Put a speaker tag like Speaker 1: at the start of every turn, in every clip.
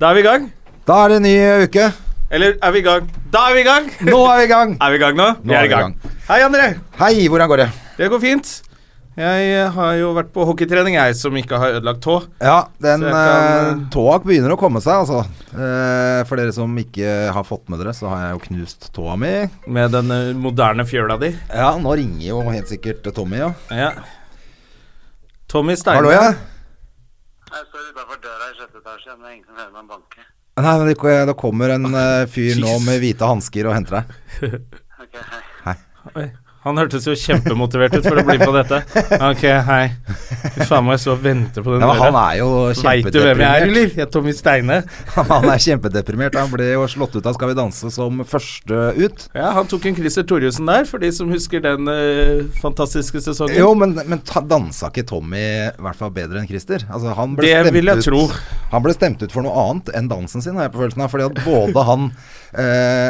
Speaker 1: Da er vi i gang.
Speaker 2: Da er det en ny eh, uke.
Speaker 1: Eller er vi i gang? Da er vi i gang!
Speaker 2: Nå er vi i gang!
Speaker 1: Er vi i gang nå? vi
Speaker 2: er
Speaker 1: er
Speaker 2: vi
Speaker 1: i gang. Hei, André.
Speaker 2: Hei, hvordan går det?
Speaker 1: Det går fint. Jeg eh, har jo vært på hockeytrening, jeg, som ikke har ødelagt tå.
Speaker 2: Ja, den
Speaker 1: Så jeg kan-
Speaker 2: eh, tåa begynner å komme seg, altså. Eh, for dere som ikke har fått med dere, så har jeg jo knust tåa mi.
Speaker 1: Med den eh, moderne fjøla di.
Speaker 2: Ja, nå ringer jo helt sikkert Tommy, ja.
Speaker 1: Ja. Tommy Steine.
Speaker 2: Hallo, ja.
Speaker 3: Jeg står utafor døra i sjette etasje, men det er ingen som hører meg banke.
Speaker 2: Nei, men det, det kommer en
Speaker 1: Ah,
Speaker 2: eh, fyr nå med hvite hansker og henter deg.
Speaker 3: Ok, hei.
Speaker 1: Oi, Han hørtes jo kjempemotivert ut for å bli med på dette. Ok, hei. Fy faen, må jeg så vente på den
Speaker 2: Ja, men han
Speaker 1: døra?
Speaker 2: er jo
Speaker 1: Veit du hvem jeg er,
Speaker 2: kjempedeprimert.
Speaker 1: eller? Jeg er Tommy Steine.
Speaker 2: Han er kjempedeprimert. Han ble jo slått ut av Skal vi danse som første ut.
Speaker 1: Ja, Han tok en Christer Thorjussen der, for de som husker den eh, fantastiske sesongen.
Speaker 2: Jo, men, men ta, dansa ikke Tommy i hvert fall bedre enn Christer? Altså, han ble
Speaker 1: Det
Speaker 2: stemt
Speaker 1: vil jeg
Speaker 2: ut,
Speaker 1: tro.
Speaker 2: Han ble stemt ut for noe annet enn dansen sin, har jeg på følelsen av. Fordi at både han eh,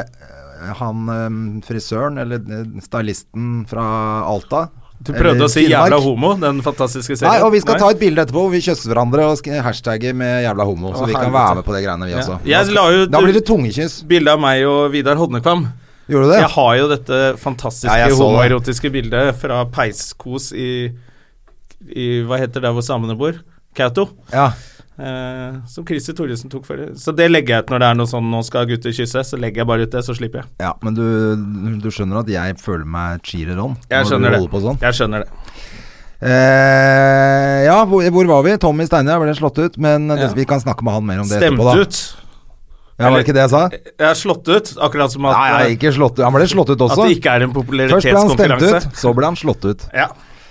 Speaker 2: Han eh, frisøren, eller eh, stylisten fra Alta
Speaker 1: Du prøvde
Speaker 2: eller
Speaker 1: å si
Speaker 2: Finnmark.
Speaker 1: 'jævla homo', den fantastiske serien.
Speaker 2: Nei, og vi skal ta et bilde etterpå hvor vi kysser hverandre og sk- hashtagger med 'jævla homo'. Så
Speaker 1: Å,
Speaker 2: vi kan
Speaker 1: helvete.
Speaker 2: være med på de greiene, vi
Speaker 1: Ja.
Speaker 2: også.
Speaker 1: Jeg
Speaker 2: Altså, Da-
Speaker 1: la ut-
Speaker 2: Da blir det tungekyss.
Speaker 1: Bilde av meg og Vidar Hodnekvam.
Speaker 2: Gjorde du det?
Speaker 1: Jeg har jo dette fantastiske
Speaker 2: Ja, jeg så det.
Speaker 1: homoerotiske bildet fra peiskos i, i Hva heter det hvor samene bor? Kautokeino.
Speaker 2: Ja.
Speaker 1: Eh, som Christer Thoresen tok for det. Så det legger jeg ut når det er noe sånn 'nå skal gutter kysse', så legger jeg bare ut det, så slipper jeg.
Speaker 2: ja. Men du, du skjønner at jeg føler meg cheerer on
Speaker 1: Jeg
Speaker 2: når
Speaker 1: skjønner
Speaker 2: du
Speaker 1: det.
Speaker 2: holder på sånn?
Speaker 1: Jeg skjønner det.
Speaker 2: Eh, ja, hvor, hvor var vi? Tommy Steinar ble slått ut, men det,
Speaker 1: Ja.
Speaker 2: vi kan snakke med han mer om det
Speaker 1: Stemt
Speaker 2: etterpå. da
Speaker 1: ut. eh,
Speaker 2: Ja, var det ikke det jeg sa?
Speaker 1: Jeg er slått ut, akkurat som at, eh,
Speaker 2: Nei, nei, ikke slått ut. Han ble slått ut
Speaker 1: at
Speaker 2: også.
Speaker 1: det ikke er en
Speaker 2: Først ble han stemt
Speaker 1: popularitetskonkurranse.
Speaker 2: ut, så ble han slått ut
Speaker 1: Ja.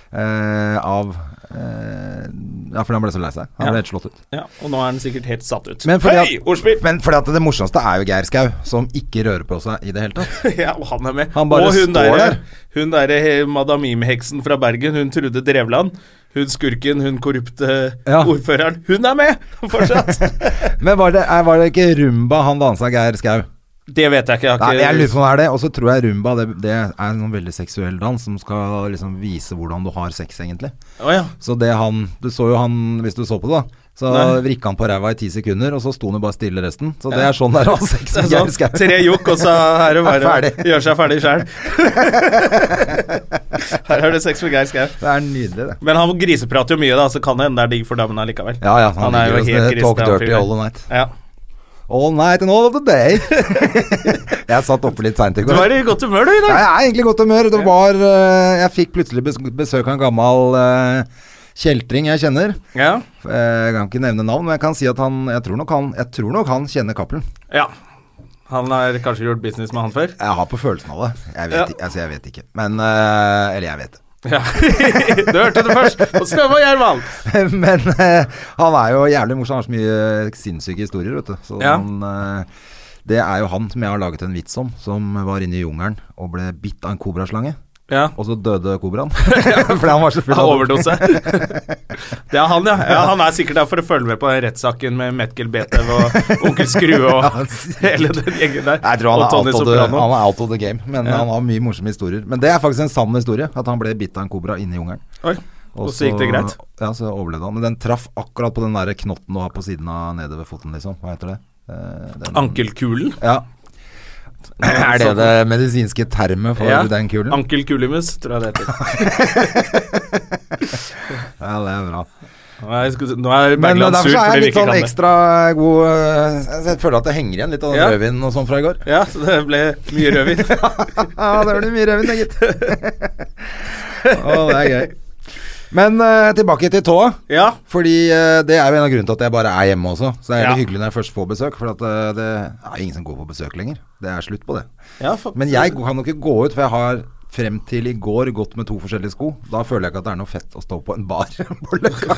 Speaker 2: eh, av eh, Ja, fordi han ble så lei seg. Han
Speaker 1: Ja.
Speaker 2: ble helt slått ut.
Speaker 1: ja. Og nå er den sikkert helt satt ut.
Speaker 2: Men fordi
Speaker 1: Hei,
Speaker 2: at-
Speaker 1: ordspill!
Speaker 2: Men fordi at det morsomste er jo Geir Skau, som ikke rører på seg i det hele tatt.
Speaker 1: Ja, og han er med.
Speaker 2: Han bare
Speaker 1: og hun
Speaker 2: står
Speaker 1: der.
Speaker 2: der.
Speaker 1: Hun derre Madam Mime-heksen fra Bergen, hun Trude Drevland. Hun skurken, hun korrupte
Speaker 2: Ja.
Speaker 1: ordføreren. Hun er med fortsatt!
Speaker 2: Men var det, er, var det ikke rumba han dansa, Geir Skau?
Speaker 1: det vet jeg ikke. Jeg
Speaker 2: Nei,
Speaker 1: har ikke
Speaker 2: jeg lurer på om det er det. Og så tror jeg rumba det, det er en sånn veldig seksuell dans som skal liksom vise hvordan du har sex, egentlig.
Speaker 1: Å, ja.
Speaker 2: Så det han Du så jo han, hvis du så på det, da. Så
Speaker 1: Nei.
Speaker 2: vrikka han på ræva i ti sekunder, og så sto han jo bare stille resten. Så det er sånn det er å ha sex
Speaker 1: Det
Speaker 2: med
Speaker 1: er
Speaker 2: Geir
Speaker 1: sånn,
Speaker 2: Skau.
Speaker 1: tre jokk, og så er det
Speaker 2: Er
Speaker 1: bare å
Speaker 2: ferdig.
Speaker 1: gjøre seg ferdig sjæl. Her er det sex med Geir Skau.
Speaker 2: Det er nydelig, det.
Speaker 1: Men han griseprater jo mye, da, så kan det hende det er digg for damene allikevel.
Speaker 2: Ja, ja.
Speaker 1: Han er jo
Speaker 2: ligger
Speaker 1: helt
Speaker 2: og
Speaker 1: kristen,
Speaker 2: Talk
Speaker 1: han
Speaker 2: dirty
Speaker 1: fyren.
Speaker 2: all night.
Speaker 1: Ja.
Speaker 2: All night and all of the day. jeg satt oppe litt seint i
Speaker 1: Du
Speaker 2: går.
Speaker 1: var i godt humør, du, i
Speaker 2: Ja,
Speaker 1: dag.
Speaker 2: jeg er egentlig i godt humør. Det var eh, Jeg fikk plutselig bes- besøk av en gammel eh, kjeltring jeg kjenner.
Speaker 1: Ja.
Speaker 2: Eh, Jeg kan ikke nevne navn, men jeg kan si at han Jeg tror nok han, jeg tror nok han kjenner Cappelen.
Speaker 1: ja. Han har kanskje gjort business med han før?
Speaker 2: Jeg har på følelsen av det. Jeg vet,
Speaker 1: Ja.
Speaker 2: ikke- altså, jeg vet ikke. Men eh, Eller jeg vet det.
Speaker 1: Ja. du hørte det først. Og Støv og Gjerman.
Speaker 2: Men eh, han er jo jævlig morsom. Han har så mye eh, sinnssyke historier, vet du. Så
Speaker 1: Ja.
Speaker 2: han, eh, det er jo han som jeg har laget en vits om, som var inne i jungelen og ble bitt av en kobraslange.
Speaker 1: Ja.
Speaker 2: Og så døde kobraen. Fordi han var så full
Speaker 1: Han
Speaker 2: av
Speaker 1: overdose. Det er han, ja. ja. Han er sikkert der for å følge med på den rettssaken med Metkel Betev og Onkel Skrue og hele den gjengen der.
Speaker 2: Jeg tror han
Speaker 1: og
Speaker 2: er, out of the,
Speaker 1: Soprano.
Speaker 2: han er out of the game, men
Speaker 1: Ja.
Speaker 2: han har mye morsomme historier. Men det er faktisk en sann historie, at han ble bitt av en kobra inne i jungelen.
Speaker 1: Oi. Og så gikk det greit.
Speaker 2: Ja, så overlevde han. Men den traff akkurat på den der knotten du har på siden av nede ved foten, liksom. Hva heter det? Eh, den-
Speaker 1: Ankelkulen.
Speaker 2: Ja. Er det det medisinske termet for
Speaker 1: Ja.
Speaker 2: den kulen?
Speaker 1: Ankelkulimus, tror jeg det heter.
Speaker 2: Ja, det er bra.
Speaker 1: Nå er, jeg sku- nå er
Speaker 2: Men
Speaker 1: Bergland
Speaker 2: derfor
Speaker 1: sur
Speaker 2: så er
Speaker 1: fordi
Speaker 2: jeg
Speaker 1: vi
Speaker 2: litt
Speaker 1: ikke
Speaker 2: sånn
Speaker 1: kan det.
Speaker 2: ekstra god eh, Jeg føler at det henger igjen litt av den
Speaker 1: Ja.
Speaker 2: rødvinen og sånn fra i går.
Speaker 1: Ja, så det ble mye rødvin.
Speaker 2: Ja, det blir mye rødvin, det, gitt. Å, det er gøy. Men eh, tilbake til tåa.
Speaker 1: Ja.
Speaker 2: Fordi eh, det er jo en av grunnene til at jeg bare er hjemme også. Så er det
Speaker 1: Ja.
Speaker 2: hyggelig når jeg først får besøk, for at eh, det er ingen som går på besøk lenger. Det er slutt på det.
Speaker 1: ja fuck.
Speaker 2: Men jeg kan jo ikke gå ut, for jeg har frem til i går gått med to forskjellige sko. Da føler jeg ikke at det er noe fett å stå på en bar. på Løkka.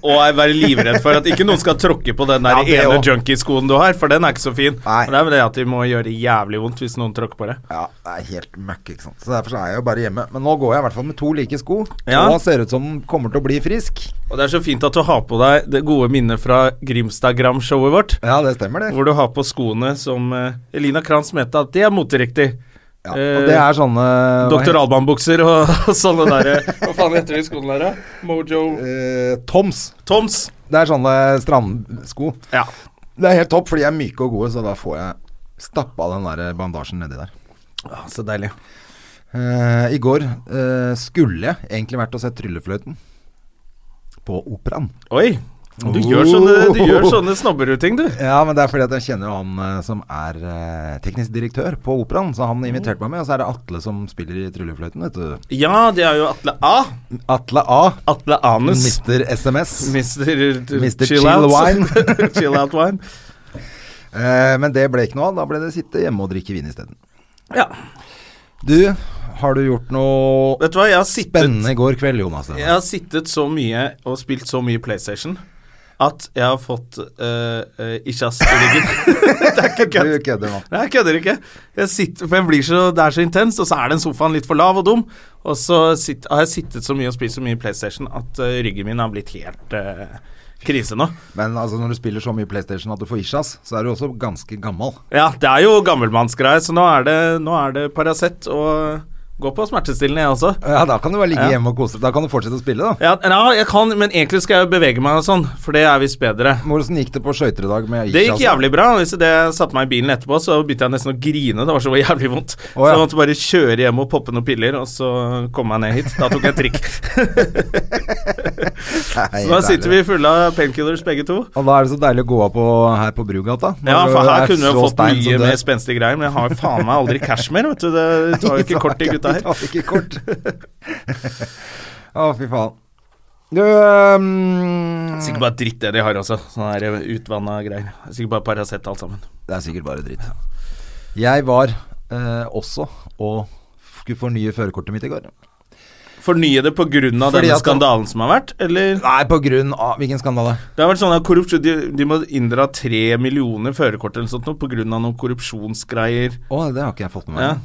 Speaker 1: Og jeg være livredd for at ikke noen skal tråkke på den der
Speaker 2: Ja, det
Speaker 1: ene
Speaker 2: også.
Speaker 1: junkie-skoen du har, for den er ikke så fin.
Speaker 2: Nei.
Speaker 1: Men det er vel det at de må gjøre jævlig vondt hvis noen tråkker på det.
Speaker 2: Ja, det er helt møkk, ikke sant. Så derfor så er jeg jo bare hjemme. Men nå går jeg i hvert fall med to like sko.
Speaker 1: Ja.
Speaker 2: Og ser ut som den kommer til å bli frisk.
Speaker 1: Og det er så fint at du har på deg det gode minnet fra Grimstadgram-showet vårt.
Speaker 2: Ja, det stemmer det.
Speaker 1: Hvor du har på skoene som eh, Elina Kranz mente at de er moteriktig. Eh,
Speaker 2: Ja, og det er sånne hva
Speaker 1: Doktor
Speaker 2: heter-
Speaker 1: Alban-bukser og, og sånne eh. derre Hva faen heter de skoene der, da? Mojo
Speaker 2: eh, Toms.
Speaker 1: Toms.
Speaker 2: Det er sånne strandsko.
Speaker 1: Ja.
Speaker 2: Det er helt topp, for de er myke og gode, så da får jeg stappa den der bandasjen nedi der.
Speaker 1: Ah, så deilig.
Speaker 2: Eh, I går eh, skulle jeg egentlig vært og sett Tryllefløyten på operaen.
Speaker 1: Oi. Du gjør sånne, du
Speaker 2: Oh.
Speaker 1: gjør sånne snobberutting, du.
Speaker 2: Ja, men det er fordi at jeg kjenner jo han eh, som er eh, teknisk direktør på operaen, så han inviterte meg med. Og så er det Atle som spiller i Tryllefløyten, vet du.
Speaker 1: Ja, det er jo Atle A.
Speaker 2: Atle A.
Speaker 1: Atle Anus.
Speaker 2: Mister SMS.
Speaker 1: Mr.
Speaker 2: Mr.
Speaker 1: Chill
Speaker 2: Chill
Speaker 1: Out.
Speaker 2: Wine.
Speaker 1: Chill Out Wine.
Speaker 2: Eh, men det ble ikke noe av. Da ble det sitte hjemme og drikke vin isteden.
Speaker 1: Ja.
Speaker 2: Du, har du gjort noe
Speaker 1: Vet du hva, jeg har sittet
Speaker 2: spennende i går kveld, Jonas?
Speaker 1: Jeg har sittet så mye og spilt så mye PlayStation at jeg har fått øh, øh, ischias i ryggen. det er ikke
Speaker 2: Du
Speaker 1: kødd.
Speaker 2: kødder nå.
Speaker 1: Nei, jeg kødder ikke. Jeg sitter, for jeg blir så, det er så intenst, og så er den sofaen litt for lav og dum. Og så sitt, har jeg sittet så mye og spist så mye PlayStation at øh, ryggen min har blitt helt øh, krise nå.
Speaker 2: Men altså, når du spiller så mye PlayStation at du får isjas, så er du også ganske gammel.
Speaker 1: Ja, det er jo gammelmannsgreier, så nå er det, nå er det Paracet og gå på smertestillende, jeg også.
Speaker 2: Ja, da kan du bare ligge
Speaker 1: Ja.
Speaker 2: hjemme og kose deg. Da kan du fortsette å spille, da.
Speaker 1: Ja, ja, jeg kan, men egentlig skal jeg jo bevege meg og sånn, for det er visst bedre.
Speaker 2: Hvordan gikk det på skøyter i dag med isjas?
Speaker 1: Det gikk jævlig bra. Hvis det jeg satte meg i bilen etterpå, så begynte jeg nesten å grine. Det var så jævlig vondt.
Speaker 2: Å, ja.
Speaker 1: Så jeg måtte bare kjøre hjem og poppe noen piller, og så komme meg ned hit. Da tok jeg trikk.
Speaker 2: Nei,
Speaker 1: så da sitter vi
Speaker 2: deilig.
Speaker 1: fulle av painkillers begge to.
Speaker 2: Og da er det så deilig å gå av på, her på Brugata. når
Speaker 1: Ja,
Speaker 2: du
Speaker 1: for her
Speaker 2: er
Speaker 1: kunne vi
Speaker 2: så
Speaker 1: jo fått
Speaker 2: stein som
Speaker 1: mye
Speaker 2: du er.
Speaker 1: mer spenstige greier, men jeg har jo faen meg aldri cash mer, vet du. Det tar jo ikke kort til gutta
Speaker 2: De
Speaker 1: her.
Speaker 2: tar ikke kort. Å, fy faen. Du ehm,
Speaker 1: Sikkert bare dritt det de har også. Sånne utvanna greier. Sikkert bare Paracet alt sammen.
Speaker 2: Det er sikkert bare dritt. Jeg var eh, også og skulle fornye førerkortet mitt i går.
Speaker 1: Fornye det på grunn av
Speaker 2: Fordi
Speaker 1: denne
Speaker 2: at han-
Speaker 1: skandalen som har vært, eller?
Speaker 2: Nei, på grunn av Hvilken skandale?
Speaker 1: Det har vært sånn at korrupsjon De, de må inndra tre millioner førerkort eller sånt noe på grunn av noen korrupsjonsgreier.
Speaker 2: Å, det har ikke jeg fått med meg.
Speaker 1: Ja.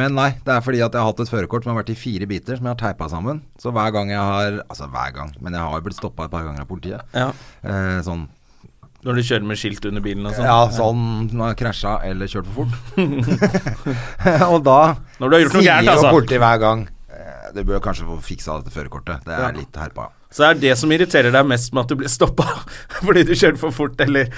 Speaker 2: Men nei, det er fordi at jeg har hatt et førerkort som har vært i fire biter, som jeg har teipa sammen. Så hver gang jeg har Altså hver gang, men jeg har jo blitt stoppa et par ganger av politiet.
Speaker 1: Ja.
Speaker 2: Eh, sånn
Speaker 1: Når du kjører med skilt under bilen og sånn.
Speaker 2: Ja, sånn når jeg har krasja eller kjørt for fort. og da
Speaker 1: Når du har gjort noe gærent,
Speaker 2: sier
Speaker 1: altså.
Speaker 2: jo politiet hver gang eh, Du bør kanskje få fiksa dette førerkortet. Det er
Speaker 1: Ja.
Speaker 2: litt herpa.
Speaker 1: Så det er det som irriterer deg mest med at du blir stoppa fordi du kjører for fort eller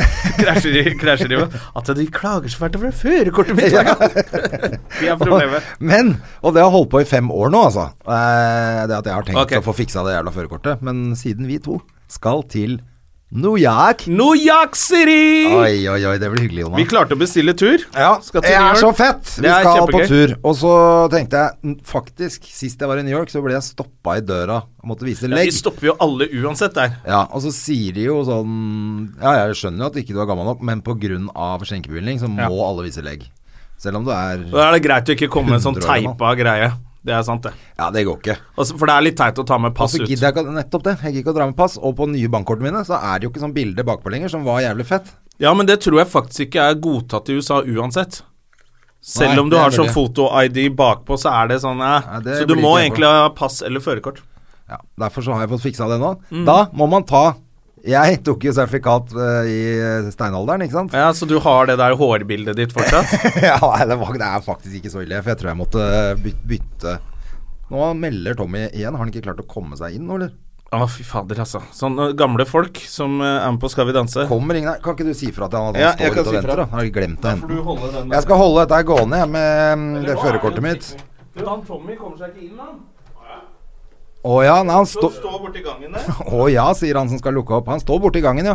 Speaker 1: krasjer i krasjer i At de klager så fælt over det førerkortet mitt hver gang! De er problemet.
Speaker 2: Men, og det har holdt på i fem år nå, altså. Eh, det at jeg har tenkt
Speaker 1: Ok.
Speaker 2: å få fiksa det jævla førerkortet. Men siden vi to skal til New York
Speaker 1: New York City!
Speaker 2: Oi, oi, oi, det blir hyggelig,
Speaker 1: Vi
Speaker 2: Jonas.
Speaker 1: klarte å bestille tur.
Speaker 2: Ja,
Speaker 1: Skal til
Speaker 2: det
Speaker 1: New
Speaker 2: er så
Speaker 1: York.
Speaker 2: fett! Vi
Speaker 1: Det er
Speaker 2: skal på
Speaker 1: kjempegøy.
Speaker 2: tur. Og så tenkte jeg n- faktisk, sist jeg var i New York, så ble jeg stoppa i døra og måtte vise
Speaker 1: Ja, de
Speaker 2: legg.
Speaker 1: stopper jo alle uansett der.
Speaker 2: Ja, og så sier de jo sånn Ja, jeg skjønner jo at ikke du er gammel nok, men pga. skjenkebevilgning så må
Speaker 1: Ja.
Speaker 2: alle vise legg. Selv om du er
Speaker 1: Da er det greit å ikke komme med en sånn
Speaker 2: 100 år gammel.
Speaker 1: teipa greie. Det er sant, det.
Speaker 2: Ja, det går ikke.
Speaker 1: Og så- For det er litt teit å ta med
Speaker 2: Og
Speaker 1: pass
Speaker 2: så
Speaker 1: ut.
Speaker 2: gidder jeg ikke nettopp det. Jeg gidder ikke å dra med pass. Og på nye bankkortene mine så er det jo ikke sånn bilde bakpå lenger, som var jævlig fett.
Speaker 1: Ja, men det tror jeg faktisk ikke er godtatt i USA uansett. Selv
Speaker 2: Nei,
Speaker 1: om du
Speaker 2: det er
Speaker 1: har sånn
Speaker 2: mulig.
Speaker 1: foto-ID bakpå, så er det sånn eh.
Speaker 2: Nei, det
Speaker 1: Så du
Speaker 2: blir
Speaker 1: må
Speaker 2: ikke jeg
Speaker 1: egentlig ha pass eller førerkort.
Speaker 2: Ja, Derfor så har jeg fått fiksa det nå. Da må man ta Jeg tok jo sertifikat eh, i steinalderen, ikke sant?
Speaker 1: Ja, Så du har det der hårbildet ditt fortsatt?
Speaker 2: ja, nei, det, var, det er faktisk ikke så ille, for jeg tror jeg måtte eh, byt- bytte Nå melder Tommy igjen. Har han ikke klart å komme seg inn nå, eller?
Speaker 1: Å, fy fader, altså. Sånne gamle folk som eh, er med på Skal vi danse.
Speaker 2: Kommer ingen her? Kan ikke du si fra til han at han
Speaker 1: Ja, jeg
Speaker 2: står ute
Speaker 1: kan
Speaker 2: og
Speaker 1: si fra.
Speaker 2: venter? Da? Han Har glemt å hente den.
Speaker 1: holde den
Speaker 2: Jeg skal holde dette her gående jeg, med mm, det førerkortet mitt.
Speaker 1: Du, han Tommy kommer seg ikke inn, han.
Speaker 2: Å ja, nei, han står
Speaker 1: borti gangen der.
Speaker 2: Å ja, sier han som skal lukke opp. Han står borti gangen, ja.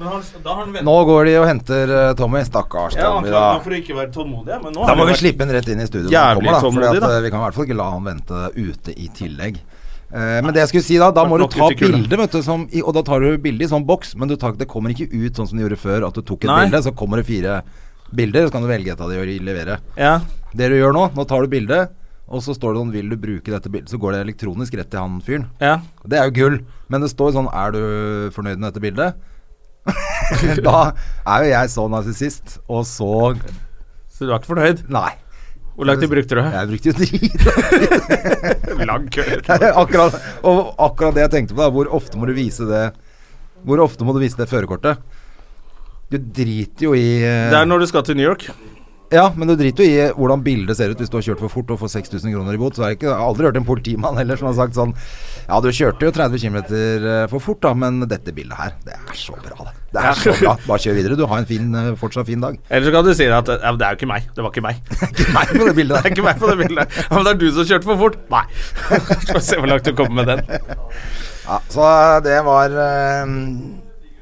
Speaker 1: Men da har han
Speaker 2: Nå går de og henter eh, Tommy. Stakkars Tommy, da.
Speaker 1: for å ikke være tålmodig, men nå
Speaker 2: Da må vi slippe han rett inn i studio. når han
Speaker 1: Jævlig
Speaker 2: kommer, da, fordi
Speaker 1: tålmodig,
Speaker 2: at,
Speaker 1: da.
Speaker 2: eh, vi kan i hvert fall ikke la han vente ute i tillegg. Eh, men det jeg skulle si da, da må du
Speaker 1: Nok
Speaker 2: ta
Speaker 1: ut i kula.
Speaker 2: bilde, vet du, som, i, og da tar du bilde i sånn boks, men du tar, det kommer ikke ut sånn som du gjorde før, at du tok et
Speaker 1: Nei.
Speaker 2: bilde, så kommer det fire bilder, så kan du velge et av de og levere.
Speaker 1: Ja.
Speaker 2: Det du gjør nå, nå tar du bildet, og så står det sånn 'Vil du bruke dette bildet?' Så går det elektronisk rett til han fyren.
Speaker 1: ja.
Speaker 2: Det er jo gull, men det står sånn 'Er du fornøyd med dette bildet?' da er jo jeg så narsissist, og så
Speaker 1: Så du var ikke fornøyd?
Speaker 2: Nei.
Speaker 1: Hvor lang tid brukte du?
Speaker 2: Jeg brukte jo drit.
Speaker 1: Lang kø.
Speaker 2: akkurat, og akkurat det jeg tenkte på, da. Hvor ofte må du vise det Hvor ofte må du vise det førerkortet? Du driter jo i eh,
Speaker 1: Det er når du skal til New York.
Speaker 2: Ja, men du driter jo i hvordan bildet ser ut hvis du har kjørt for fort og får 6000 kroner i bot. Så er det ikke, jeg har aldri hørt en politimann heller som har sagt sånn Ja, du kjørte jo 30 km for fort, da, men dette bildet her, det er så bra, det. Det er så bra. Bare kjør videre. Du har en fin, eh, fortsatt fin dag.
Speaker 1: Eller så kan du si at ja, men 'det er jo ikke meg'. Det var ikke meg.
Speaker 2: Ikke meg på det
Speaker 1: Det
Speaker 2: bildet
Speaker 1: er
Speaker 2: der.
Speaker 1: ikke meg på det bildet. Ja, men det er du som kjørte for fort. Nei. Skal vi se hvor langt du kommer med den.
Speaker 2: Ja, så det var eh,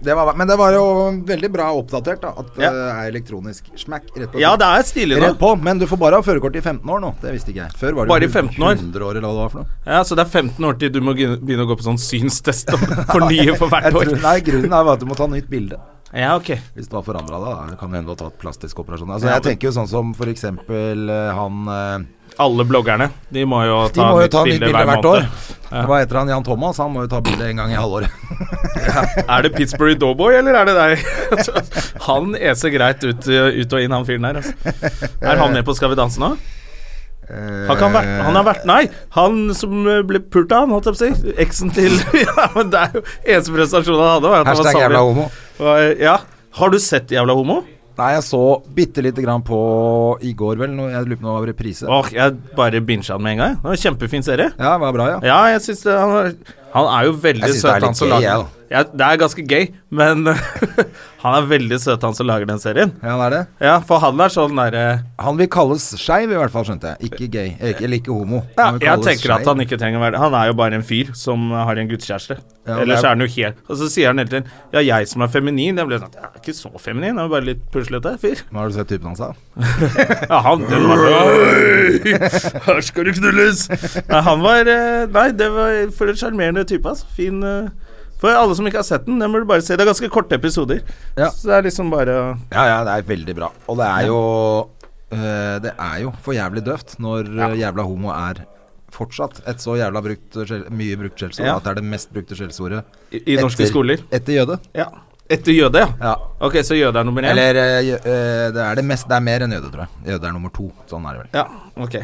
Speaker 2: det var, men det var jo veldig bra oppdatert, da. At det
Speaker 1: Ja.
Speaker 2: er elektronisk. Smack, rett på.
Speaker 1: Ja, det er stilig nå.
Speaker 2: Rett på, men du får bare ha førerkort i 15 år nå. Det visste ikke jeg. Før var det
Speaker 1: Bare i
Speaker 2: jo
Speaker 1: 15 år?
Speaker 2: 100 år, eller hva det var for noe.
Speaker 1: Ja, Så det er 15 år til du må begynne begynne å gå på sånn synstest og fornye for hvert
Speaker 2: Jeg
Speaker 1: år.
Speaker 2: tror, nei, grunnen er bare at du må ta nytt bilde.
Speaker 1: Ja, ok.
Speaker 2: Hvis du har forandra deg, da kan det hende du har tatt plastisk operasjon. Altså,
Speaker 1: Ja,
Speaker 2: jeg tenker jo sånn som for eksempel eh, han eh,
Speaker 1: Alle bloggerne de må jo
Speaker 2: De
Speaker 1: ta,
Speaker 2: må jo
Speaker 1: nytt,
Speaker 2: ta nytt
Speaker 1: bilde
Speaker 2: bilde
Speaker 1: hver
Speaker 2: hvert år.
Speaker 1: måned.
Speaker 2: Det var etter han Jan Thomas, han må jo ta bilde en gang i halvåret.
Speaker 1: Er det Pittsburgh Doughboy, eller er det deg? han eser greit ut, ut og inn, han fyren der. Altså. Er han med på Skal vi danse nå? Har ikke han, vært, han har vært Nei, han som eh, ble pult av, han, holdt jeg på å si. Eksen til Ja, men det er jo eneste prestasjonen han hadde, var at han var
Speaker 2: Hashtag jævla
Speaker 1: sammen.
Speaker 2: homo.
Speaker 1: Og, Ja. Har du sett Jævla homo?
Speaker 2: Nei, jeg så bitte lite grann på i går, vel. Noe, jeg lurer på om det var reprise.
Speaker 1: Åh, jeg bare bincha han med en gang. Det var en kjempefin serie.
Speaker 2: Ja, det var bra, ja.
Speaker 1: Ja, jeg syns det han, er- han er jo veldig
Speaker 2: Jeg synes det er
Speaker 1: søt,
Speaker 2: litt
Speaker 1: han som
Speaker 2: gay,
Speaker 1: lager
Speaker 2: jeg, da.
Speaker 1: ja, Det er ganske gay, men han er veldig søt, han som lager den serien.
Speaker 2: Ja, det er det.
Speaker 1: Ja, for han er sånn derre
Speaker 2: Han vil kalles skeiv, i hvert fall, skjønte jeg. Ikke gay. eh, Ikke, eller ikke homo.
Speaker 1: ja,
Speaker 2: Han vil
Speaker 1: Jeg
Speaker 2: kalles
Speaker 1: tenker at
Speaker 2: skeiv.
Speaker 1: han ikke trenger å være det. Han er jo bare en fyr som har en gudskjæreste.
Speaker 2: Ja, det
Speaker 1: Ellers
Speaker 2: er-
Speaker 1: er han jo helt Og så sier han hele tiden 'ja, jeg som er feminin'. Jeg ble sånn Jeg er ikke så feminin, jeg er bare litt puslete fyr.
Speaker 2: Nå Har du sett typen hans, da?
Speaker 1: Ja, han den var «Oi, Her skal du knulles! Nei, han var eh, Nei, det var for en sjarmerende type, altså. Fin eh, For alle som ikke har sett den, den må du bare se. Det er ganske korte episoder.
Speaker 2: Ja.
Speaker 1: Så det er liksom bare å
Speaker 2: Ja, ja, det er veldig bra. Og det er jo eh, Det er jo for jævlig døvt når eh, jævla homo er fortsatt et så jævla brukt, skjell- mye brukt skjellsord
Speaker 1: Ja.
Speaker 2: at det er det mest brukte skjellsordet
Speaker 1: I, i norske
Speaker 2: etter-
Speaker 1: skoler.
Speaker 2: Etter jøde.
Speaker 1: Ja. Etter jøde, ja.
Speaker 2: Ja.
Speaker 1: Ok, så jøde er nummer én?
Speaker 2: Eller eh, jø- eh, det, er det, mest, det er mer enn jøde, tror jeg. Jøde er nummer to. Sånn er det vel.
Speaker 1: Ja, ok.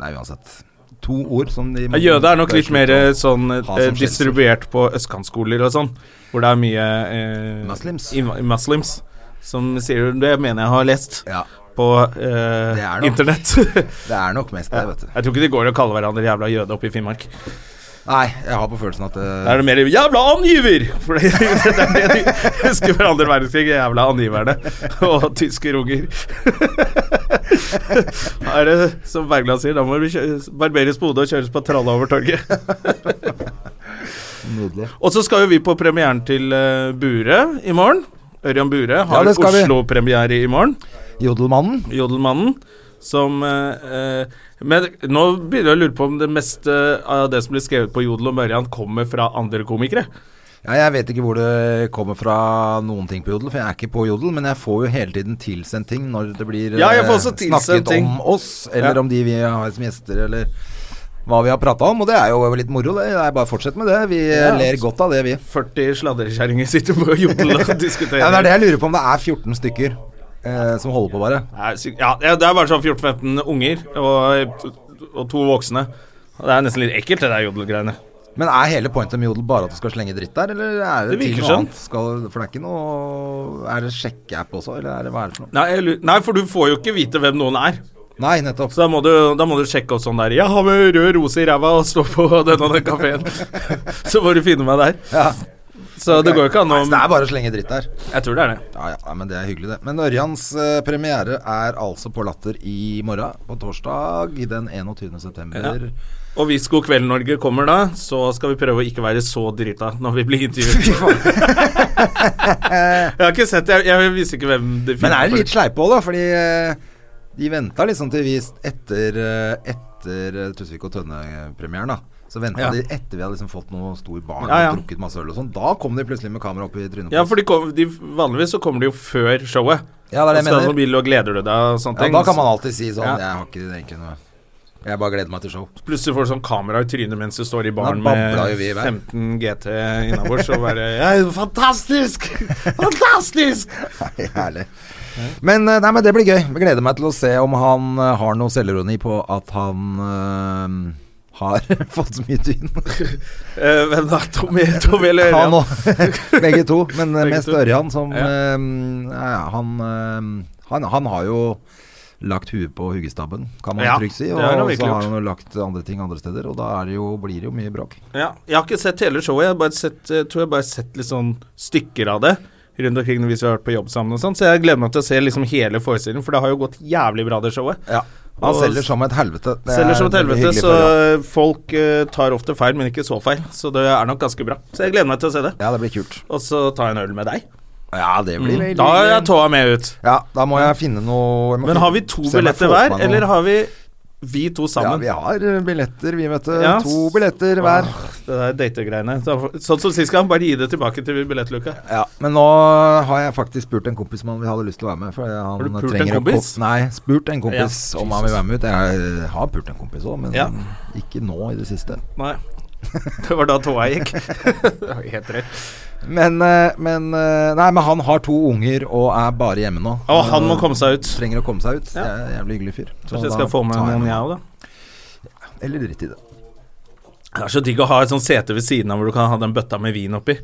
Speaker 2: Det er uansett to ord som de
Speaker 1: Ja, Jøde er nok litt mer eh, sånn eh,
Speaker 2: Ha som
Speaker 1: distribuert på østkantskoler og sånn, hvor det er mye eh,
Speaker 2: Muslims.
Speaker 1: inv- muslims som sier det, mener jeg har lest
Speaker 2: Ja.
Speaker 1: på eh,
Speaker 2: Det er nok.
Speaker 1: internett. jeg
Speaker 2: Det er nok mest det, vet du.
Speaker 1: tror ikke de går og kaller hverandre jævla jøde oppe i Finnmark.
Speaker 2: Nei, jeg har på følelsen at eh,
Speaker 1: Da
Speaker 2: det,
Speaker 1: er det mer 'jævla angiver'! For det, det er det de husker fra andre verdenskrig. Jævla angiverne og tyske runger. Da er det som Bergland sier, da må du kjø- barberes på hodet og kjøres på tralla over torget.
Speaker 2: Nydelig.
Speaker 1: Og så skal jo vi på premieren til eh, Bure i morgen. Ørjan Bure har
Speaker 2: Ja, det skal vi.
Speaker 1: Oslo-premiere i morgen.
Speaker 2: Jodelmannen.
Speaker 1: Jodelmannen. Som eh, eh, Men nå begynner jeg å lure på om det meste eh, av det som blir skrevet på Jodel og Mørjan, kommer fra andre komikere.
Speaker 2: Ja, jeg vet ikke hvor det kommer fra noen ting på Jodel, for jeg er ikke på Jodel, men jeg får jo hele tiden tilsendt ting når det blir
Speaker 1: Ja, jeg
Speaker 2: eh,
Speaker 1: får også tilsendt
Speaker 2: snakket
Speaker 1: ting.
Speaker 2: om oss, eller
Speaker 1: Ja.
Speaker 2: om de vi har som gjester, eller hva vi har prata om. Og det er jo litt moro, det. Jeg bare fortsett med det. Vi eh,
Speaker 1: Ja.
Speaker 2: ler godt av det, vi.
Speaker 1: 40 sladrekjerringer sitter på Jodel og diskuterer.
Speaker 2: Ja, det er det jeg lurer på om det er 14 stykker eh, som holder på, bare.
Speaker 1: Nei, syk- Ja, det er bare sånn 14-15 unger og, og to voksne. Det er nesten litt ekkelt, det der jodelgreiene.
Speaker 2: Men er hele pointet med Jodel bare at du skal slenge dritt der, eller er det,
Speaker 1: Det virker
Speaker 2: ting og
Speaker 1: sånn.
Speaker 2: annet? Skal, for det er ikke noe Er det sjekkeapp også, eller er det hva er det for noe?
Speaker 1: Nei, jeg lu- Nei, for du får jo ikke vite hvem noen er.
Speaker 2: Nei, nettopp.
Speaker 1: Så da må, du, da må du sjekke opp sånn der Jeg har med rød rose i ræva og står på den og den kafeen. så får du finne meg der.
Speaker 2: Ja.
Speaker 1: Så det går jo ikke an å
Speaker 2: Så det er bare å slenge dritt der.
Speaker 1: Jeg tror det er det.
Speaker 2: Ja, ja, nei, men det er hyggelig det. Men Ørjans eh, premiere er altså på Latter i morgen, på torsdag i den 21. september.
Speaker 1: Og hvis God kveld Norge kommer da, så skal vi prøve å ikke være så drita når vi blir intervjuet. jeg har ikke sett det. Jeg, jeg visste ikke hvem det
Speaker 2: Men er det litt sleipe òg, da? Fordi eh, de venta liksom til vi etter, eh, etter eh, Tusvik og Tønne-premieren, da. Så venta
Speaker 1: Ja.
Speaker 2: de etter vi hadde liksom fått noe stor bar
Speaker 1: Ja, ja.
Speaker 2: og drukket masse øl og sånn. Da kom de plutselig med kamera opp i trynet på
Speaker 1: Ja, for de kom, de, vanligvis så kommer de jo før showet.
Speaker 2: Ja, det er det jeg
Speaker 1: Skal du
Speaker 2: mener.
Speaker 1: på bil og gleder du deg og sånne
Speaker 2: Ja,
Speaker 1: ting.
Speaker 2: da kan man alltid si sånn
Speaker 1: Ja.
Speaker 2: Jeg har ikke egentlig noe Jeg bare gleder meg til show.
Speaker 1: Plutselig får du sånn kamera i trynet mens du står i baren
Speaker 2: Da
Speaker 1: med
Speaker 2: babla jo vi i vei.
Speaker 1: 15 GT innabords og bare ja, Fantastisk! Fantastisk!
Speaker 2: Nei, Herlig. Men, eh, nei, men det blir gøy. Jeg gleder meg til å se om han eh, har noe selvironi på at han eh, har fått så mye tyn.
Speaker 1: Eh, hvem da? Tommy, Tommy eller
Speaker 2: Han
Speaker 1: Ørjan?
Speaker 2: og begge to, men eh,
Speaker 1: Begge
Speaker 2: mest
Speaker 1: to.
Speaker 2: Ørjan som
Speaker 1: Ja.
Speaker 2: eh, ja, ja, han, eh, han, han har jo lagt huet på huggestabben, kan man
Speaker 1: Ja,
Speaker 2: trygt si.
Speaker 1: det
Speaker 2: Og
Speaker 1: har han virkelig
Speaker 2: så har
Speaker 1: gjort.
Speaker 2: han jo lagt andre ting andre steder, og da er det jo, blir det jo mye bråk.
Speaker 1: Ja, jeg har ikke sett hele showet. Jeg har bare sett, eh, tror jeg bare har sett litt sånn stykker av det rundt omkring hvis vi har vært på jobb sammen og sånn. Så jeg gleder meg til å se liksom hele forestillingen, for det har jo gått jævlig bra, det showet.
Speaker 2: Han
Speaker 1: Og
Speaker 2: selger som et helvete. Det
Speaker 1: Selger
Speaker 2: er
Speaker 1: som et
Speaker 2: veldig
Speaker 1: helvete,
Speaker 2: hyggelig
Speaker 1: så
Speaker 2: for han.
Speaker 1: eh, folk eh, tar ofte feil, men ikke så feil. Så det er nok ganske bra. Så jeg gleder meg til å se det.
Speaker 2: Ja, det blir kult.
Speaker 1: Og så ta en øl med deg.
Speaker 2: Ja, det blir veldig
Speaker 1: Mm. Da er jeg tåa med ut.
Speaker 2: Ja, da må jeg finne noe jeg må
Speaker 1: Men
Speaker 2: finne-
Speaker 1: har vi to
Speaker 2: se om jeg
Speaker 1: billetter
Speaker 2: får
Speaker 1: hver,
Speaker 2: meg noe.
Speaker 1: eller har vi vi to
Speaker 2: Ja,
Speaker 1: sammen?
Speaker 2: vi har eh, billetter, vi, vet du.
Speaker 1: Ja.
Speaker 2: To billetter hver.
Speaker 1: Det der dategreiene. Så- Sånn som sist gang, bare gi det tilbake til billettluka.
Speaker 2: Ja, men nå har jeg faktisk spurt en kompis om han hadde lyst til å være med. For han
Speaker 1: du pult
Speaker 2: trenger
Speaker 1: en
Speaker 2: å ko-
Speaker 1: kompis?
Speaker 2: Nei, spurt en
Speaker 1: Ja,
Speaker 2: kompis om han vil være med ut. Jeg eh, har pult en kompis òg, men
Speaker 1: Ja.
Speaker 2: ikke nå i det siste.
Speaker 1: Nei. Det var da tåa gikk. Det var Helt rett.
Speaker 2: Men, eh, men eh, Nei, men han har to unger og er bare hjemme nå.
Speaker 1: Å, han må komme seg ut.
Speaker 2: Trenger å komme seg ut. Det
Speaker 1: Ja.
Speaker 2: er en jævlig hyggelig fyr. Så
Speaker 1: Kanskje jeg
Speaker 2: da
Speaker 1: skal få med
Speaker 2: tar jeg
Speaker 1: noen,
Speaker 2: med
Speaker 1: jeg
Speaker 2: han.
Speaker 1: òg, da.
Speaker 2: Eller dritt i det.
Speaker 1: Det er så digg å ha et sånt sete ved siden av hvor du kan ha den bøtta med vin oppi.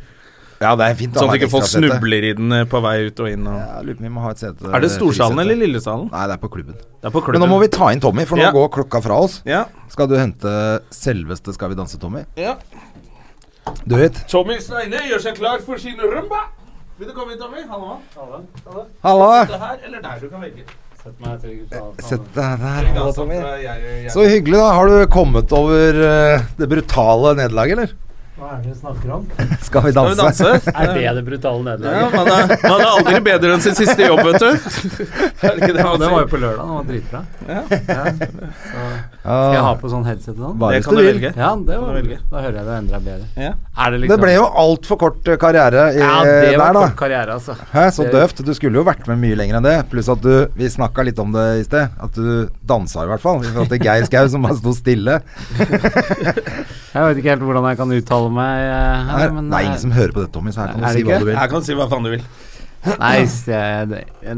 Speaker 2: Ja, det er fint. å
Speaker 1: Sånn
Speaker 2: ha
Speaker 1: at
Speaker 2: et
Speaker 1: ikke folk
Speaker 2: ekstra sete.
Speaker 1: snubler i den eh, på vei ut og inn. Og.
Speaker 2: Ja, jeg lurer på om vi må ha et sete.
Speaker 1: Er det Storsalen
Speaker 2: frisete.
Speaker 1: eller Lillesalen?
Speaker 2: Nei, det er på klubben.
Speaker 1: Det er på
Speaker 2: Men
Speaker 1: klubben.
Speaker 2: nå må vi ta inn Tommy, for nå
Speaker 1: Ja.
Speaker 2: går klokka fra oss.
Speaker 1: Ja.
Speaker 2: Skal du hente selveste Skal vi danse, Tommy?
Speaker 1: ja.
Speaker 2: Do it.
Speaker 1: Tommy Steine gjør seg klar for sin rumba. Vil du komme inn, Tommy? Hallo. Hallo. Hallo.
Speaker 2: Hallo!
Speaker 1: Det her eller der du kan velge.
Speaker 2: Sett deg der. Hallo,
Speaker 1: Altså,
Speaker 2: Tommy.
Speaker 1: fra jeg- jeg- jeg-
Speaker 2: Så hyggelig, da. Har du kommet over eh, det brutale nederlaget, eller?
Speaker 4: Hva er det du snakker om?
Speaker 2: Skal vi
Speaker 1: Skal vi
Speaker 2: danse?
Speaker 1: danse?
Speaker 4: Er det det brutale nederlaget?
Speaker 1: Ja, man er, man er aldri bedre enn sin siste jobb, vet du. Er det ikke det man
Speaker 4: det var jo
Speaker 1: sier?
Speaker 4: på lørdag, det var dritbra. Skal jeg ha
Speaker 2: Ja,
Speaker 4: på sånn headset og sånn?
Speaker 2: bare
Speaker 1: Det
Speaker 2: hvis
Speaker 1: kan
Speaker 2: du
Speaker 1: du
Speaker 2: vil.
Speaker 1: velge.
Speaker 4: Ja, det
Speaker 1: Kan
Speaker 4: var,
Speaker 1: du velge.
Speaker 4: da hører jeg det endra bedre.
Speaker 1: Ja.
Speaker 4: Er det
Speaker 2: Det
Speaker 4: liksom
Speaker 2: ble jo altfor kort eh, karriere i, eh,
Speaker 4: Ja, det
Speaker 2: der,
Speaker 4: var
Speaker 2: da.
Speaker 4: kort karriere, altså.
Speaker 2: Hæ, så
Speaker 4: Det-
Speaker 2: døvt. Du skulle jo vært med mye lenger enn det. Pluss at du Vi snakka litt om det i sted. At du dansa i hvert fall. I forhold til Geir Skau som bare sto stille.
Speaker 4: Jeg vet ikke helt hvordan jeg kan uttale meg eh, her,
Speaker 2: Her,
Speaker 4: men
Speaker 2: det er ingen som hører på dette, Tommy, så her kan du
Speaker 4: Er
Speaker 2: si
Speaker 4: det
Speaker 2: hva
Speaker 4: ikke?
Speaker 2: du vil.
Speaker 1: Jeg kan si hva faen du vil.
Speaker 4: Nei, så jeg, det, jeg,